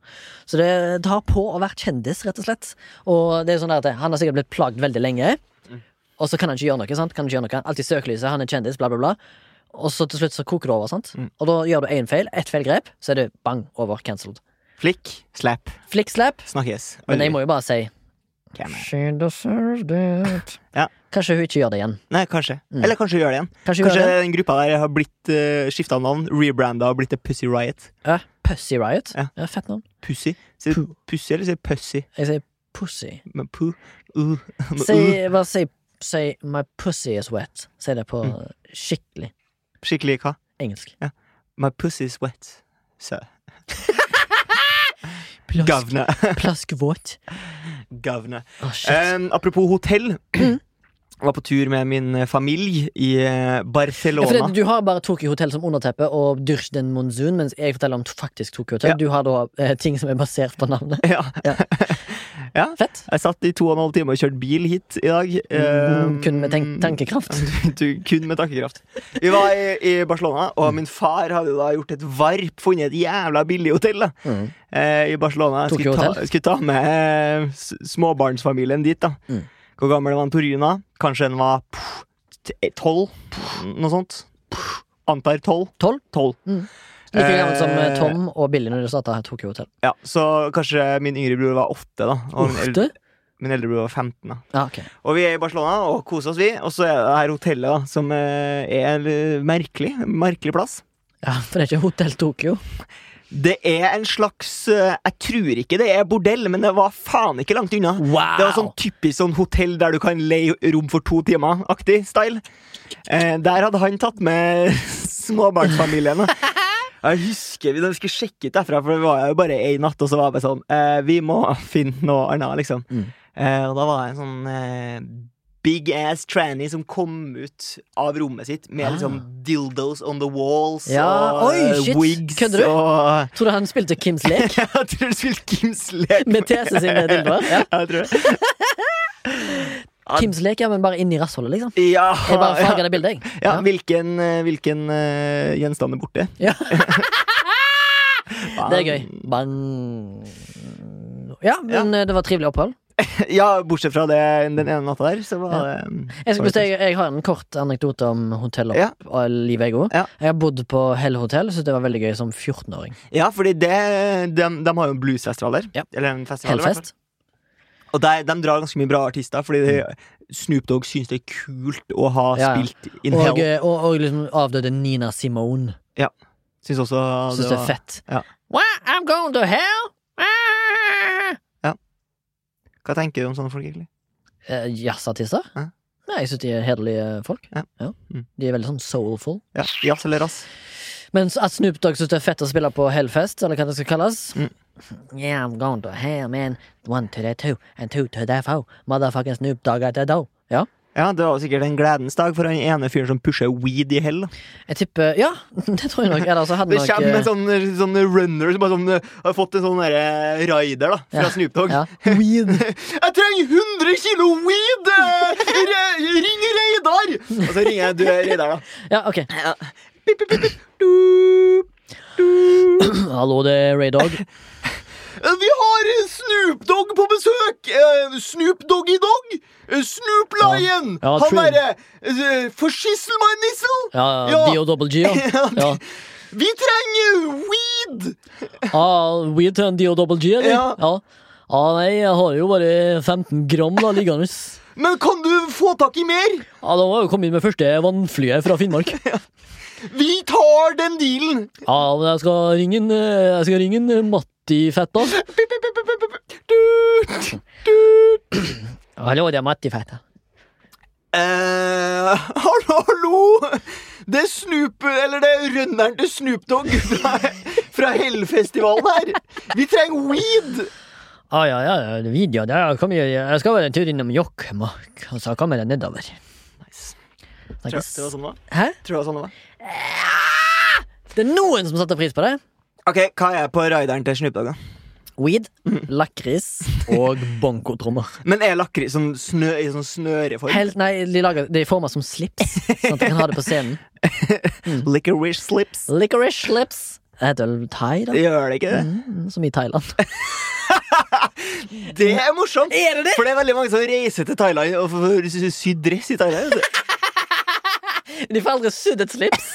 Speaker 2: Så det tar på å være kjendis, rett og slett. Og det er sånn der at han har sikkert blitt plagd veldig lenge, og så kan han ikke gjøre noe. sant? Kan ikke gjøre noe. Alltid søkelyset, han er kjendis, bla, bla, bla. Og så til slutt så koker det over, sant?
Speaker 3: Mm.
Speaker 2: Og da gjør du én feil, ett feil grep, så er det bang, over, cancelled.
Speaker 3: Flikk, slap,
Speaker 2: Flikkslap.
Speaker 3: snakkes.
Speaker 2: Men jeg må jo bare si
Speaker 3: Hvem er-
Speaker 2: She deserved it.
Speaker 3: Ja.
Speaker 2: Kanskje hun ikke gjør det igjen.
Speaker 3: Nei, kanskje.
Speaker 2: Mm.
Speaker 3: Eller kanskje gjør det igjen.
Speaker 2: Kanskje, hun
Speaker 3: Kanskje
Speaker 2: gjør det
Speaker 3: den gruppa der har blitt uh, skifta navn, rebranda og blitt til Pussy Riot.
Speaker 2: ja, Pussy Riot.
Speaker 3: Ja.
Speaker 2: Ja. fett navn.
Speaker 3: Pussy? Sier du
Speaker 2: Poo.
Speaker 3: pussy eller sier du pussy?
Speaker 2: Jeg sier pussy.
Speaker 3: Men poo. Uh. Men
Speaker 2: Si,
Speaker 3: uh.
Speaker 2: bare si, si My pussy is wet. Si det på
Speaker 3: Mm.
Speaker 2: skikkelig
Speaker 3: Skikkelig hva?
Speaker 2: engelsk.
Speaker 3: My pussy is wet. Så. Gavne.
Speaker 2: Plaskvåt.
Speaker 3: Gavne.
Speaker 2: Å, shit.
Speaker 3: Eh, Em, apropos hotell. var på tur med min eh, familie i eh,
Speaker 2: Ja, for det,
Speaker 3: Barcelona.
Speaker 2: du har bare Tokyo Hotel som underteppe og Dursh den Monzun, mens jeg forteller om faktisk Tokyo Hotel.
Speaker 3: Ja.
Speaker 2: Du har da eh, ting som er basert på navnet.
Speaker 3: Ja.
Speaker 2: Ja.
Speaker 3: Ja.
Speaker 2: Fett.
Speaker 3: Jeg satt i to og en halv time og kjørte bil hit i dag.
Speaker 2: Mm,
Speaker 3: Eh,
Speaker 2: Kun med tenk tankekraft.
Speaker 3: du, kun med takkekraft. Vi var i, i Barcelona, og min far hadde da gjort et varp, funnet et jævla billig hotell da,
Speaker 2: Mm.
Speaker 3: eh, i Barcelona. Jeg
Speaker 2: Tokyo
Speaker 3: Skulle ta,
Speaker 2: Hotel.
Speaker 3: skulle ta med eh, s- småbarnsfamilien dit. da.
Speaker 2: Mm.
Speaker 3: Hvor gammel var han Torina? Kanskje han var pff, t- eh, tolv? Pff, Noe sånt. Pff, Antar tolv.
Speaker 2: Tolv? Mm.
Speaker 3: Tolv.
Speaker 2: Like gammel som eh,
Speaker 3: Eh,
Speaker 2: Tom og Billy når de starta Tokyo Hotel.
Speaker 3: Ja, så kanskje min yngre bror var åtte, da. Og min eldre,
Speaker 2: Ofte?
Speaker 3: min eldre bror var 15. da.
Speaker 2: Ja, ok.
Speaker 3: Og vi er i Barcelona og koser oss, vi. Og så er det her hotellet, da, som eh, er en eh, merkelig, merkelig plass.
Speaker 2: ja, for det er ikke Hotell Tokyo.
Speaker 3: Det er en slags eh, Jeg tror ikke det er bordell, men det var faen ikke langt unna.
Speaker 2: Wow!
Speaker 3: Det var sånn typisk sånn hotell der du kan leie rom for to timer-aktig style. Eh, der hadde han tatt med småbarnsfamilien. da. Jeg husker vi, da vi skulle sjekke ut derfra, for det var jo bare én natt, og så var det sånn eh, Vi må finne noe annet, liksom.
Speaker 2: Mm.
Speaker 3: Eh, og da var det en sånn eh, big ass tranny som kom ut av rommet sitt med
Speaker 2: Ah.
Speaker 3: liksom dildos on the walls
Speaker 2: Ja,
Speaker 3: og
Speaker 2: oi,
Speaker 3: eh,
Speaker 2: shit.
Speaker 3: wigs
Speaker 2: Kødder du?
Speaker 3: og
Speaker 2: Tror du han spilte Kims lek
Speaker 3: jeg tror du spilte Kims lek.
Speaker 2: med TC sine dildoer? Ja.
Speaker 3: Jeg tror det.
Speaker 2: Kims lek, ja, men bare inni rassholdet, liksom.
Speaker 3: Ja,
Speaker 2: Jeg bare farger
Speaker 3: ja,
Speaker 2: det bildet, jeg.
Speaker 3: ja. Hvilken, eh, hvilken eh, gjenstand er borte?
Speaker 2: Ja.
Speaker 3: Faen.
Speaker 2: Det er gøy. Bang. Ja, men eh, det var trivelig opphold.
Speaker 3: Ja, bortsett fra det, den ene natta der, så var
Speaker 2: Ja.
Speaker 3: det mm,
Speaker 2: Jeg, skal-
Speaker 3: var
Speaker 2: hvis
Speaker 3: det-
Speaker 2: jeg, jeg har en kort anekdote om hotellet
Speaker 3: Ja.
Speaker 2: og livet jeg òg.
Speaker 3: Ja.
Speaker 2: Jeg har bodd på Hell Hotel, så det var veldig gøy som 14-åring.
Speaker 3: Ja, fordi det, de, de har jo en bluesfestival der.
Speaker 2: Ja.
Speaker 3: Eller en festival. i hvert fall.
Speaker 2: Hellfest.
Speaker 3: Og der, de drar ganske mye bra artister, fordi de, Snoop Dogg syns det er kult å ha
Speaker 2: Mm. Ja, ja.
Speaker 3: spilt in
Speaker 2: Og,
Speaker 3: hell.
Speaker 2: eh, og, og liksom avdøde Nina Simone.
Speaker 3: Syns også
Speaker 2: Syns det,
Speaker 3: det
Speaker 2: er
Speaker 3: var
Speaker 2: fett.
Speaker 3: ja.
Speaker 2: Well, I'm going to hell! Ah!
Speaker 3: Hva tenker du om sånne folk, egentlig?
Speaker 2: Eh, Jazzartister?
Speaker 3: Ja.
Speaker 2: Nei, jeg syns de er hederlige folk.
Speaker 3: Ja. Mm.
Speaker 2: De er veldig sånn soulful.
Speaker 3: Ja, Jazz eller rass?
Speaker 2: Mens at Snoop Dogg syns det er fett å spille på Hellfest, eller hva det skal kalles.
Speaker 3: Mm.
Speaker 2: Yeah, I'm going to hell, man. One to the two, and two to the four. Motherfucking Snoop Dogg at the door. Ja.
Speaker 3: Ja, det var sikkert en gledens dag for den ene fyren som pusher weed i hell. da.
Speaker 2: Jeg tipper Ja, det tror jeg nok. Eller så hadde
Speaker 3: Det
Speaker 2: nok
Speaker 3: kommer
Speaker 2: eh,
Speaker 3: en sånn, sånn runner som bare sånn, eh, har fått en sånn derre rider da, fra
Speaker 2: Ja.
Speaker 3: Snoop Dogg.
Speaker 2: ja.
Speaker 3: Jeg trenger 100 kilo weed! eh, re- Ring Reidar! Og så ringer jeg du er Reidar, da.
Speaker 2: ja, ok.
Speaker 3: Ja. Pip, pip, pip, pip. Du, du.
Speaker 2: Hallo, det er Ray Dogg.
Speaker 3: Eh, Vi har eh, Snoop Dogg på besøk! Eh, Snoop Doggy Dog! Eh, Snoop Lion!
Speaker 2: Ja. Ja,
Speaker 3: Han
Speaker 2: true.
Speaker 3: derre eh, Forskyssel meg, Nissel!
Speaker 2: Ja,
Speaker 3: Ja.
Speaker 2: D og double G, ja. ja.
Speaker 3: Vi trenger weed!
Speaker 2: Ah, weed til en D og double G, eller?
Speaker 3: Ja.
Speaker 2: ja. Ah, nei, jeg har jo bare 15 gram da, liggende.
Speaker 3: Men kan du få tak i mer?
Speaker 2: Ja, Da må jeg jo komme inn med første vannflyet fra Finnmark.
Speaker 3: Vi tar den dealen!
Speaker 2: Ja, Ah, men jeg skal ringe en, eh, jeg skal ringe en eh, Matti Fetta. Hallo, det er Matti Fetta.
Speaker 3: Eh, hallo, hallo! Det er Snoop, eller det er rønneren til Snoop Dogg fra, fra Hellfestivalen her. Vi trenger weed!
Speaker 2: Ah, ja, ja, ja, det er video. Det er, kom, jeg, jeg skal være en tur innom Jokkmokk, og så kommer jeg nedover.
Speaker 3: Nice. Tror
Speaker 2: Snakkes.
Speaker 3: jeg- tror jeg sånn det var?
Speaker 2: Hæ?
Speaker 3: Tror jeg sånn det var?
Speaker 2: Det er noen som satte pris på det.
Speaker 3: Ok, Hva er på rideren til Snoop Dogg? da?
Speaker 2: Weed,
Speaker 3: Mm.
Speaker 2: lakris og bonkotrommer.
Speaker 3: Men er lakris sånn snø, i sånn snøreform?
Speaker 2: Helt, nei, de, lager, de former som slips, sånn at de kan ha det på scenen.
Speaker 3: Licorice slips?
Speaker 2: Licorice slips. Eh, Det heter vel thai, da.
Speaker 3: Gjør det ikke det?
Speaker 2: Mm, Som i Thailand.
Speaker 3: Det er morsomt!
Speaker 2: Er det det?
Speaker 3: For det er veldig mange som reiser til Thailand og får sy- sy- sydd dress i Thailand.
Speaker 2: De får aldri sydd et slips.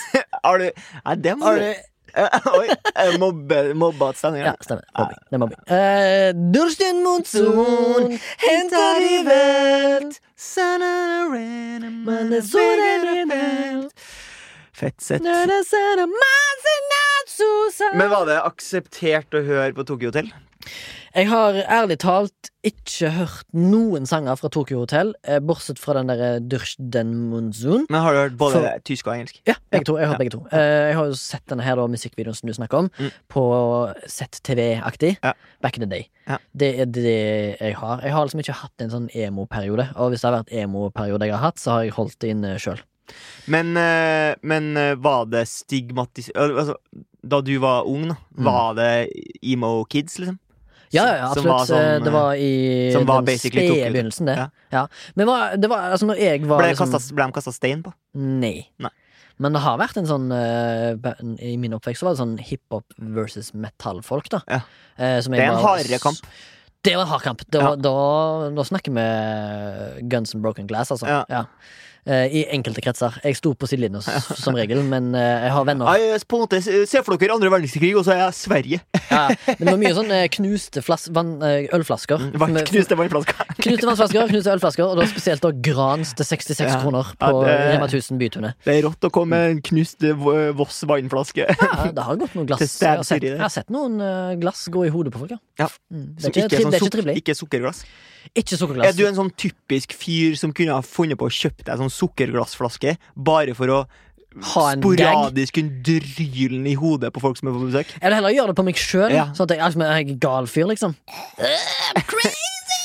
Speaker 3: Har du Nei, det må du Oi. jeg Mobbe, mobba til
Speaker 2: Ja,
Speaker 3: stemninga.
Speaker 2: stemmer. Mobbing. Det er mobbing. Eh, Dursten Monsun, henter i velt. Men det er så det blir meldt.
Speaker 3: Fett sett.
Speaker 2: Når det ser det masse natt, Susan.
Speaker 3: Men var det akseptert å høre på Tokyo Hotel?
Speaker 2: Jeg har ærlig talt ikke hørt noen sanger fra Tokyo Hotel, eh, bortsett fra den derre Durch den Monsun.
Speaker 3: Men har du hørt både
Speaker 2: For-
Speaker 3: tysk og engelsk?
Speaker 2: Ja, begge to. Jeg har,
Speaker 3: Ja.
Speaker 2: begge to. Eh, jeg har jo sett denne her da, musikkvideoen som du snakker om,
Speaker 3: Mm.
Speaker 2: på ZTV-aktig.
Speaker 3: Ja.
Speaker 2: Back in the day.
Speaker 3: Ja.
Speaker 2: Det er det jeg har. Jeg har liksom ikke hatt en sånn emo-periode. Og hvis det har vært emo-periode jeg har hatt, så har jeg holdt det inne sjøl.
Speaker 3: Men, eh, men eh, var det stigmatis... al- Altså, da du var ung, da,
Speaker 2: Mm.
Speaker 3: var det emo kids, liksom?
Speaker 2: Ja, ja, absolutt.
Speaker 3: Som- som var sånn,
Speaker 2: Eh, det var i
Speaker 3: som var
Speaker 2: den
Speaker 3: basically
Speaker 2: spede
Speaker 3: Tokyo.
Speaker 2: begynnelsen, det.
Speaker 3: Ja.
Speaker 2: Ja. Men hva- det var, altså, når jeg var
Speaker 3: Ble,
Speaker 2: liksom-
Speaker 3: kastet, ble de kasta stein på?
Speaker 2: Nei.
Speaker 3: Nei.
Speaker 2: Men det har vært en sånn eh, ba- I min oppvekst så var det sånn hiphop versus metal-folk, da.
Speaker 3: Ja.
Speaker 2: Eh, som jeg
Speaker 3: Det er en
Speaker 2: var-
Speaker 3: hardere kamp.
Speaker 2: Det var en hard kamp. Det var, da, da snakker vi guns and broken glass, altså.
Speaker 3: Ja.
Speaker 2: Eh, I enkelte kretser. Jeg sto på sidelinja s- som regel, men eh, jeg har venner
Speaker 3: Nei, eh, på en måte, eh, Se for dere andre verdenskrig, og så er jeg Sverige.
Speaker 2: ja, Men det var mye sånn eh, knuste flas, vann, eh, ølflasker.
Speaker 3: Mm, Vann-
Speaker 2: Med-
Speaker 3: Knuste vannflaska.
Speaker 2: Knuste vannflasker, knuste ølflasker, og da spesielt da Grans til 66
Speaker 3: Ja.
Speaker 2: kroner
Speaker 3: Ja,
Speaker 2: på
Speaker 3: det-
Speaker 2: Rema 1000 Bytunet.
Speaker 3: Det er rått å komme med en knust eh, V- Voss vannflaske.
Speaker 2: Ja, det har gått noen glass.
Speaker 3: Til
Speaker 2: Jeg har,
Speaker 3: stabsyre i
Speaker 2: sett,
Speaker 3: det.
Speaker 2: jeg har sett noen eh, glass gå i hodet på folk, ja.
Speaker 3: Ja.
Speaker 2: Mm. Det,
Speaker 3: Som
Speaker 2: er ikke,
Speaker 3: ikke er
Speaker 2: triv-
Speaker 3: sånn
Speaker 2: det er ikke
Speaker 3: suk-
Speaker 2: trivelig.
Speaker 3: ikke sukkerglass.
Speaker 2: Ikke
Speaker 3: Er
Speaker 2: sukkerglass.
Speaker 3: du en sånn typisk fyr som kunne ha funnet på å kjøpe deg sånn sukkerglassflaske bare for å
Speaker 2: Ha en gag.
Speaker 3: sporadisk kunne dryle den i hodet på folk som er på besøk?
Speaker 2: Eller heller gjøre det på meg sjøl,
Speaker 3: Ja.
Speaker 2: sånn at jeg, altså, jeg er en gal fyr, liksom.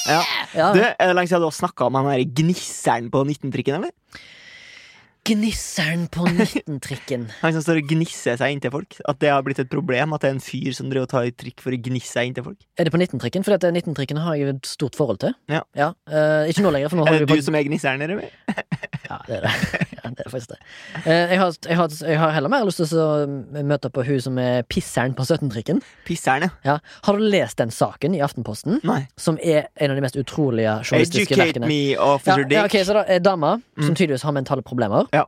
Speaker 3: Ja.
Speaker 2: Ja.
Speaker 3: Du, er det lenge siden du har snakka om han der gnisseren på 19-trikken, eller?
Speaker 2: Gnisseren på 19-trikken.
Speaker 3: Han som står og gnisser seg inntil folk? At det har blitt et problem? At det er en fyr som driver og tar i trikk for å gnisse seg inntil folk?
Speaker 2: Er det på 19-trikken? For dette 19-trikken har jeg et stort forhold til.
Speaker 3: Ja.
Speaker 2: eh, ikke nå lenger, for nå
Speaker 3: Er
Speaker 2: holder
Speaker 3: det
Speaker 2: vi på
Speaker 3: du som er gnisseren, eller?
Speaker 2: Ja, det er det. Ja, det er faktisk det. Eh, jeg, har, jeg, har, jeg har heller mer lyst til å møte på hun som er pisseren på 17-trikken.
Speaker 3: Pisseren, ja.
Speaker 2: Ja. Har du lest den saken i Aftenposten?
Speaker 3: Nei.
Speaker 2: Som er en av de mest utrolige journalistiske
Speaker 3: Educate
Speaker 2: verkene.
Speaker 3: me,
Speaker 2: Ja,
Speaker 3: officer
Speaker 2: ja,
Speaker 3: Dick.
Speaker 2: ok, så da er Dama, som
Speaker 3: Mm.
Speaker 2: tydeligvis har mentale problemer
Speaker 3: Ja.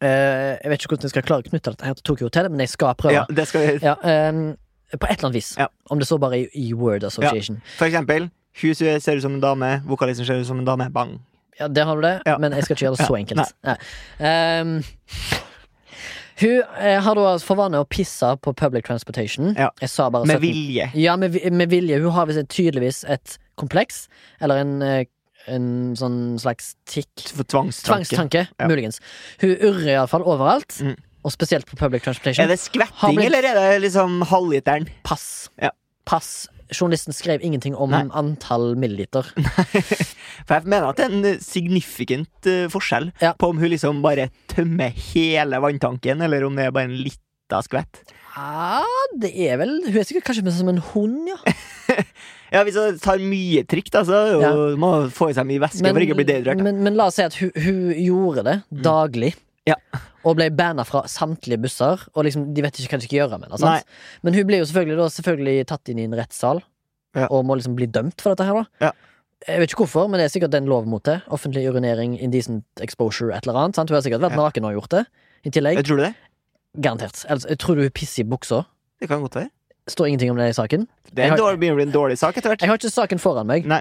Speaker 2: Eh, Jeg vet ikke hvordan jeg skal klare å knytte dette her til Tokyo Hotel, men jeg skal prøve.
Speaker 3: Ja, det skal vi.
Speaker 2: Ja, ehm, på et eller annet vis.
Speaker 3: Ja.
Speaker 2: Om det så bare i, i Word Association.
Speaker 3: For eksempel, hun ser ut som en dame, vokalisten ser ut som en dame. Bang.
Speaker 2: Ja, Der har du det,
Speaker 3: Ja.
Speaker 2: men jeg skal ikke gjøre det så
Speaker 3: Ja,
Speaker 2: enkelt. Nei. Ehm, hun eh, har da for vane å pisse på public transportation.
Speaker 3: Ja.
Speaker 2: Jeg sa bare 17.
Speaker 3: Med vilje.
Speaker 2: Ja, med, vi- med vilje. Hun har visst tydeligvis et kompleks, eller en, eh, en sånn slags tikk
Speaker 3: For tvangstanke.
Speaker 2: Tvangstanke,
Speaker 3: Ja.
Speaker 2: muligens. Hun urrer iallfall overalt,
Speaker 3: Mm.
Speaker 2: og spesielt på public transportation.
Speaker 3: Er det
Speaker 2: Har
Speaker 3: skvetting,
Speaker 2: blitt-
Speaker 3: eller er det liksom halvliteren?
Speaker 2: Pass.
Speaker 3: Ja.
Speaker 2: Pass. Journalisten skrev ingenting om
Speaker 3: Nei.
Speaker 2: antall milliliter.
Speaker 3: For jeg mener at det er en eh, significant eh, forskjell
Speaker 2: Ja.
Speaker 3: på om hun liksom bare tømmer hele vanntanken, eller om det er bare en lita skvett.
Speaker 2: Ja, Ah, det er vel Hun er sikkert kanskje som en hund, ja.
Speaker 3: Ja, Hvis hun tar mye trikk, da, så er det jo- må hun få i seg mye væske for ikke å bli dehydrert.
Speaker 2: men, men la oss si at hun, hun gjorde det daglig.
Speaker 3: Ja.
Speaker 2: Og ble banna fra samtlige busser. Og liksom, De vet ikke hva de skal gjøre med henne. sant? Men hun blir jo selvfølgelig, da, selvfølgelig tatt inn i en rettssal
Speaker 3: Ja.
Speaker 2: og må liksom bli dømt for dette. her da
Speaker 3: Ja.
Speaker 2: Jeg vet ikke hvorfor, men det er sikkert den lov mot det. Offentlig urinering, indecent exposure, et eller annet. sant? Hun har sikkert vært
Speaker 3: Ja.
Speaker 2: naken og gjort det. I tillegg.
Speaker 3: Jeg tror du det?
Speaker 2: Garantert. Ellers, jeg tror du hun pisser i buksa.
Speaker 3: Det kan godt være.
Speaker 2: Står ingenting om det i saken.
Speaker 3: Det er
Speaker 2: Jeg har-
Speaker 3: en dårlig, begynner å bli en dårlig sak etter hvert.
Speaker 2: Jeg har ikke saken foran meg.
Speaker 3: Nei.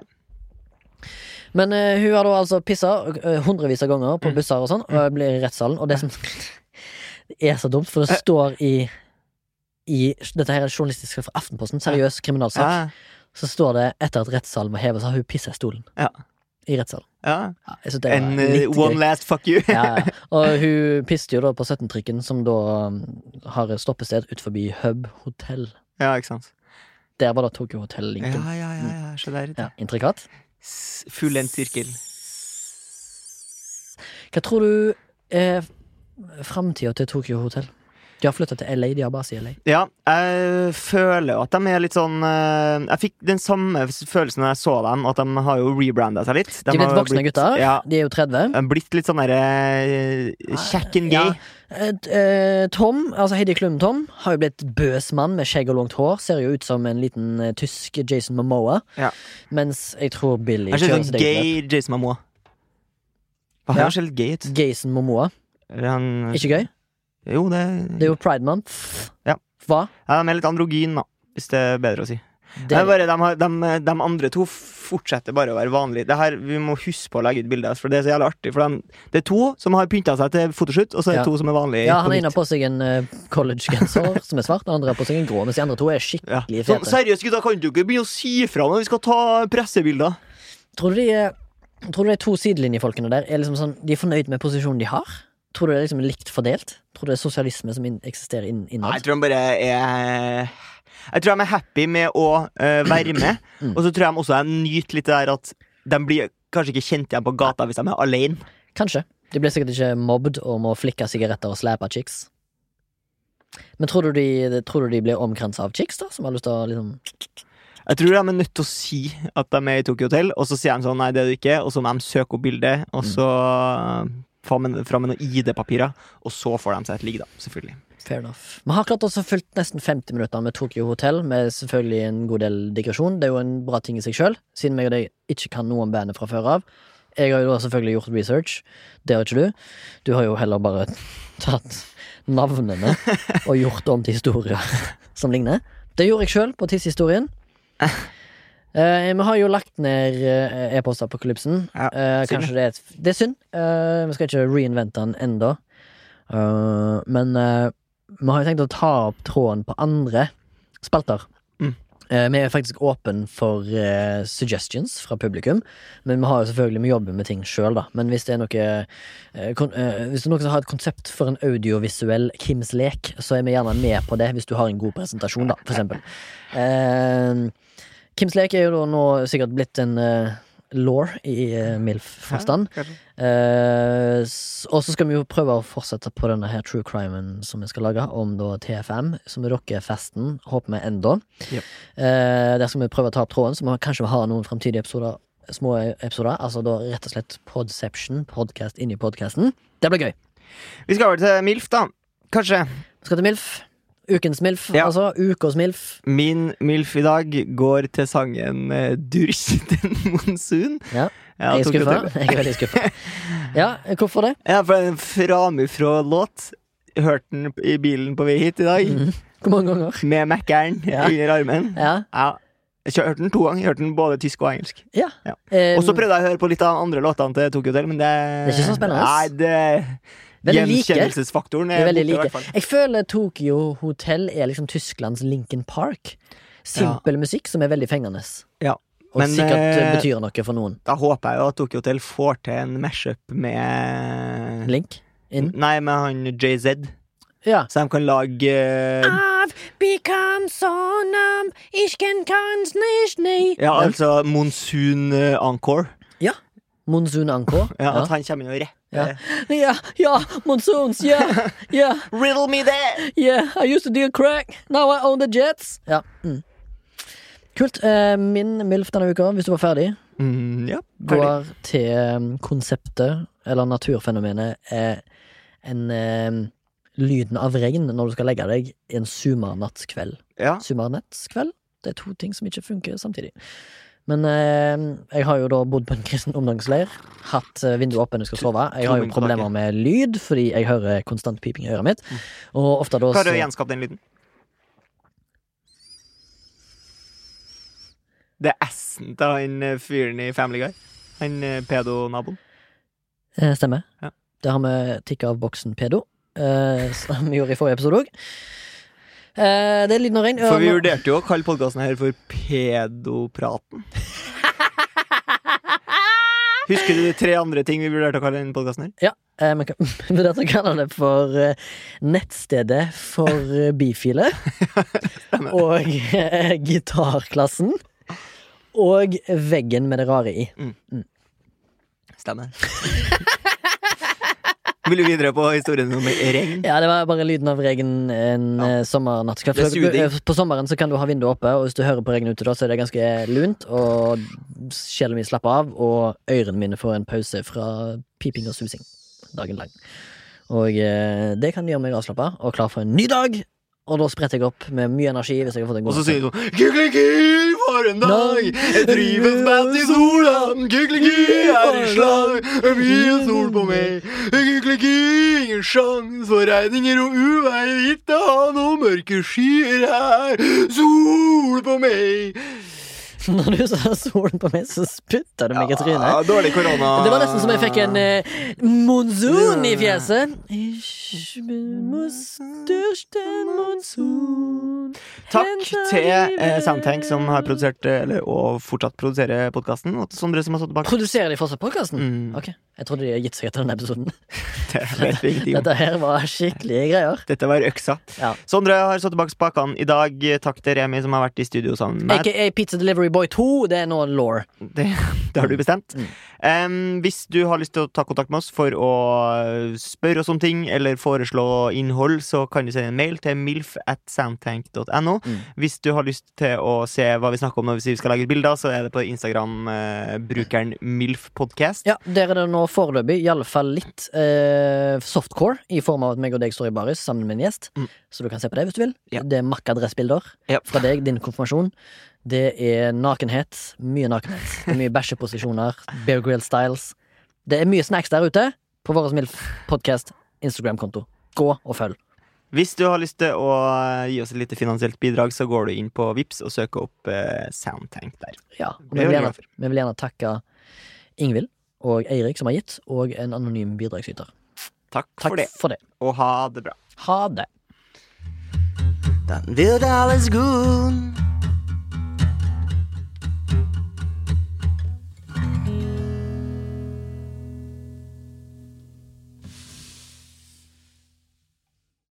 Speaker 2: Men eh, hun har da altså pissa eh, hundrevis av ganger
Speaker 3: Mm.
Speaker 2: på busser og sånn, og jeg blir i rettssalen. Og det som Det er så dumt,
Speaker 3: Eh.
Speaker 2: for det står i i, dette her er journalistisk fra Aftenposten, seriøs kriminalsak.
Speaker 3: Ja,
Speaker 2: Så står det etter at rettssalen var hevet, så har hun pissa i stolen.
Speaker 3: Ja.
Speaker 2: I rettssalen.
Speaker 3: ja.
Speaker 2: Ja, jeg synes det var
Speaker 3: En eh,
Speaker 2: litt
Speaker 3: one
Speaker 2: gøy.
Speaker 3: last fuck you.
Speaker 2: Ja, ja. Og hun piste jo da på 17-trikken, som da um, har stoppested ut forbi Hub hotell.
Speaker 3: Ja, ikke sant.
Speaker 2: Der var da Tokyo
Speaker 3: Ja,
Speaker 2: Hotel-linken.
Speaker 3: ja, ja, ja, se der.
Speaker 2: Ja, intrikat.
Speaker 3: S- Full en sirkel.
Speaker 2: Hva tror du er framtida til Tokyo Hotel? De har flytta til LA, de har base i LA.
Speaker 3: Ja, jeg føler jo at de er litt sånn eh, Jeg fikk den samme følelsen da jeg så dem, at de har jo rebranda seg litt.
Speaker 2: De er blitt
Speaker 3: har jo
Speaker 2: voksne gutter.
Speaker 3: Ja,
Speaker 2: De er jo 30.
Speaker 3: de er blitt litt sånn derre kjekk and gay.
Speaker 2: Ja. Eh, t- eh, Tom, altså Heidi Klum-Tom, har jo blitt bøs mann med skjegg og langt hår. Ser jo ut som en liten eh, tysk Jason Momoa.
Speaker 3: Ja.
Speaker 2: Mens jeg tror Billy
Speaker 3: Han ser
Speaker 2: kjører
Speaker 3: ut som
Speaker 2: sitt eget løp.
Speaker 3: gay Jason Mamoa. Hva,
Speaker 2: Ja.
Speaker 3: Han ser litt gay ut.
Speaker 2: Jason Momoa.
Speaker 3: Eller Han,
Speaker 2: Ikke gøy?
Speaker 3: Jo, det,
Speaker 2: Det er jo Pride Month.
Speaker 3: Ja.
Speaker 2: Hva?
Speaker 3: ja, De er litt androgyne, da, hvis det er bedre å si.
Speaker 2: Det
Speaker 3: Det
Speaker 2: er
Speaker 3: er bare de, har, de, de andre to f fortsetter bare å være vanlig. Det her, vi må huske på å legge ut bilder, for det er så jævlig artig. For de, det er to som har pynta seg til fotoshoot, og så er det
Speaker 2: Ja.
Speaker 3: to som er vanlige.
Speaker 2: Ja, han
Speaker 3: på
Speaker 2: ene har
Speaker 3: nytt.
Speaker 2: på seg en eh, collegegenser som er svart, og han andre har på seg en grå, mens de andre to er
Speaker 3: ja.
Speaker 2: skikkelig
Speaker 3: sånn,
Speaker 2: fete.
Speaker 3: Seriøst, gutta, kan du ikke begynne å si fra når vi skal ta pressebilder?
Speaker 2: Tror du de, eh, tror du de to sidelinjefolkene der er liksom sånn De er fornøyd med posisjonen de har? Tror du det er liksom likt fordelt? Tror du det er sosialisme som inn- eksisterer inn,
Speaker 3: Nei, jeg
Speaker 2: innad?
Speaker 3: tror de bare er Jeg tror de er happy med å eh, være med,
Speaker 2: Mm.
Speaker 3: og så tror jeg de også de nyter litt det der at de blir kanskje ikke kjent igjen på gata hvis de er alene.
Speaker 2: Kanskje. De blir sikkert ikke mobbed og må flikke sigaretter og slæpe chicks. Men tror du de, tror du de blir omkransa av chicks, da? Som har lyst til å liksom
Speaker 3: Jeg tror de er nødt til å si at de er i Tokyo Hotel, og så sier de sånn nei, det er du ikke, og så må de søke opp bildet, og
Speaker 2: Mm.
Speaker 3: så fram med, fram med noen ID-papirer, og så får de seg et ligg, da, selvfølgelig.
Speaker 2: Fair enough. Vi har klart oss å fulgt nesten 50 minutter med Tokyo Hotel, med selvfølgelig en god del digresjon. Det er jo en bra ting i seg sjøl, siden meg og deg ikke kan noe om bandet fra før av. Jeg har jo da selvfølgelig gjort research. Det har ikke du. Du har jo heller bare tatt navnene og gjort om til historier som ligner. Det gjorde jeg sjøl på Tiss-historien. Eh, vi har jo lagt ned eh, e-postapokalypsen.
Speaker 3: Ja,
Speaker 2: Eh,
Speaker 3: synd.
Speaker 2: kanskje det er, et, det er synd. Eh, vi skal ikke reinvente den enda. Eh, men eh, vi har jo tenkt å ta opp tråden på andre spalter.
Speaker 3: Mm.
Speaker 2: Eh, vi er faktisk åpen for eh, suggestions fra publikum, men vi har jo selvfølgelig vi jobber med ting sjøl, da. Men hvis det er noe eh, kon eh, Hvis det er noen som har et konsept for en audiovisuell Kims lek, så er vi gjerne med på det, hvis du har en god presentasjon, da, for eksempel. Eh, Kims lek er jo da nå sikkert blitt en eh, law i eh, MILF-forstand. Eh, s- og så skal vi jo prøve å fortsette på denne her true crimen som vi skal lage, om da TFM, som rocker festen, håper vi ennå.
Speaker 3: Jep.
Speaker 2: Eh, der skal vi prøve å ta opp tråden, så vi kanskje har noen framtidige episoder. Små episoder, altså da rett og slett podception, podcast inni podcasten. Det blir gøy.
Speaker 3: Vi skal over til MILF, da. Kanskje.
Speaker 2: Vi skal til MILF. Ukens MILF,
Speaker 3: Ja.
Speaker 2: altså. Ukas MILF.
Speaker 3: Min MILF i dag går til sangen eh, Durs den monsun.
Speaker 2: Ja,
Speaker 3: Ja,
Speaker 2: jeg er
Speaker 3: Tokyo
Speaker 2: skuffa.
Speaker 3: Hotel.
Speaker 2: Jeg er veldig skuffa. Ja, hvorfor det?
Speaker 3: Ja, for det er en framifrå-låt. Hørte den i bilen på vei hit i dag,
Speaker 2: Hvor mange ganger?
Speaker 3: med Mækkern
Speaker 2: Mhm. Ja.
Speaker 3: under armen.
Speaker 2: Ja.
Speaker 3: Ja. Jeg kjør- hørte den to ganger. Hørte den både tysk og engelsk.
Speaker 2: ja.
Speaker 3: Ja.
Speaker 2: Eh,
Speaker 3: Og så prøvde jeg å høre på litt av de andre låtene til Tokyo Hotel, men det
Speaker 2: Det er ikke så spennende,
Speaker 3: Nei,
Speaker 2: ass.
Speaker 3: det
Speaker 2: Veldig like.
Speaker 3: Gjenkjennelsesfaktoren
Speaker 2: De er
Speaker 3: er
Speaker 2: veldig
Speaker 3: borte, Eh, i hvert
Speaker 2: like.
Speaker 3: fall.
Speaker 2: Jeg føler Tokyo Hotel er liksom Tysklands Lincoln Park. Simpel musikk som er veldig fengende.
Speaker 3: Ja.
Speaker 2: Og
Speaker 3: Men,
Speaker 2: sikkert eh,
Speaker 3: eh,
Speaker 2: betyr noe for noen.
Speaker 3: Da håper jeg jo at Tokyo Hotel får til en mashup med
Speaker 2: Link inn.
Speaker 3: Nei, med han JZ.
Speaker 2: Ja.
Speaker 3: Så de kan lage eh,
Speaker 2: Ah!
Speaker 4: I've become so numb, ich kenn keins nicht, nee.
Speaker 3: Ja, altså Monsoon eh, Encore.
Speaker 2: Monsoon Anko.
Speaker 3: Ja,
Speaker 2: Ja.
Speaker 3: At han kommer inn og eh,
Speaker 2: Ja.
Speaker 3: rapper.
Speaker 2: ja, ja, monsoons, yeah, yeah,
Speaker 3: Riddle me there!
Speaker 2: yeah. I used to deal crack, now I own the jets. Ja. Mm. Kult. Eh, min MILF denne uka, hvis du var ferdig,
Speaker 3: Mm, ja, ferdig.
Speaker 2: går til um, konseptet, eller naturfenomenet, er en um, lyden av regn når du skal legge deg i en sumarnattskveld.
Speaker 3: ja.
Speaker 2: Sumarnattskveld? Det er to ting som ikke funker samtidig. Men um, jeg har jo da bodd på en kristen omgangsleir, hatt uh, vinduet åpent når jeg skal sove. Jeg har jo
Speaker 3: Tomming
Speaker 2: problemer med
Speaker 3: tilbake.
Speaker 2: lyd, fordi jeg hører konstant piping i øret mitt.
Speaker 3: Mm.
Speaker 2: Og ofte da
Speaker 3: Klarer du å
Speaker 2: så-
Speaker 3: gjenskape den lyden? Det er S-en til han eh, fyren i Family Guy. Han eh, pedonaboen.
Speaker 2: Eh, Stemmer.
Speaker 3: Ja.
Speaker 2: Der har vi tikka av boksen pedo, eh, som vi gjorde i forrige episode òg. Eh, det er lyden av regn.
Speaker 3: For vi
Speaker 2: Ja, nå-
Speaker 3: vurderte jo å kalle podkasten her for Pedopraten. Husker du de tre andre ting vi vurderte å kalle denne podkasten her?
Speaker 2: Ja, eh, men kan- men dette kaller det for eh, nettstedet for eh, bifile. og eh, gitarklassen. Og veggen med det rare i.
Speaker 3: Stemmer. Vil du videre på historien om regn?
Speaker 2: Ja, Det var bare lyden av regn en
Speaker 3: Ja.
Speaker 2: ja. sommernattskveld.
Speaker 3: Det er
Speaker 2: For
Speaker 3: suging.
Speaker 2: eh, På sommeren så kan du ha vinduet oppe, og hvis du hører på regnet ute, da, så er det ganske lunt. Og sjelen min slapper av, og ørene mine får en pause fra piping og susing dagen lang. Og eh, det kan gjøre meg avslappa og klar for en ny dag. Og da spretter jeg opp med mye energi. Hvis jeg har fått en god
Speaker 3: Og så
Speaker 2: natt.
Speaker 3: synger du sånn Kykeliky, for en dag! Jeg trives best i sola! Kykeliky er i slag! Det er mye sol på meg! Kykeliky, ingen sjans for regninger og uvær! Ikke ha noen mørke skyer her! Sol på meg!
Speaker 2: Når du sa solen på meg, så spytta du meg i trynet.
Speaker 3: Ja, dårlig korona.
Speaker 2: Det var nesten som jeg fikk en eh, monsun i fjeset. Ich bin muss durch den monsun.
Speaker 3: Takk til eh, Soundtank, som har produsert, eh, eller og fortsatt produserer podkasten, og til Sondre, som har stått bak.
Speaker 2: Produserer de fortsatt podkasten?
Speaker 3: Mm.
Speaker 2: Ok, Jeg trodde de hadde gitt seg etter den episoden.
Speaker 3: Det vet vi ingenting om.
Speaker 2: Dette her var skikkelige greier.
Speaker 3: Dette var øksa.
Speaker 2: Ja.
Speaker 3: Sondre har stått bak spakene i dag. Takk til Remi, som har vært i studio sammen med meg.
Speaker 2: Aka Pizza Delivery Boy 2, det er nå law.
Speaker 3: Det, det har du bestemt. Em, hvis du har lyst til å ta kontakt med oss for å spørre oss om ting eller foreslå innhold, så kan du sende en mail til milf at soundtank.no.
Speaker 2: Mm.
Speaker 3: Hvis du har lyst til å se hva vi snakker om når vi skal lage bilder, så er det på Instagram-brukeren milfpodcast.
Speaker 2: Ja, der er det nå foreløpig iallfall litt eh, softcore, i form av at meg og deg står i baris sammen med en gjest.
Speaker 3: Mm.
Speaker 2: Så du kan se på det hvis du vil.
Speaker 3: Ja.
Speaker 2: Det er makka dressbilder
Speaker 3: Ja.
Speaker 2: fra deg, din konfirmasjon. Det er nakenhet. Mye nakenhet. Det er mye bæsjeposisjoner. Bear Grill Styles. Det er mye snacks der ute på vår Milf podcast Instagram-konto. Gå og følg.
Speaker 3: Hvis du har lyst til å gi oss et lite finansielt bidrag, så går du inn på Vips og søker opp eh, Soundtank der.
Speaker 2: Ja, og vi
Speaker 3: Det er
Speaker 2: vil,
Speaker 3: vi
Speaker 2: gjerne,
Speaker 3: glad for.
Speaker 2: vi vil gjerne takke Ingvild og Eirik, som har gitt, og en anonym bidragsyter.
Speaker 3: Takk,
Speaker 2: Takk
Speaker 3: for det,
Speaker 2: for det.
Speaker 3: og ha det bra.
Speaker 2: Ha det.
Speaker 1: Dann wird alles gut.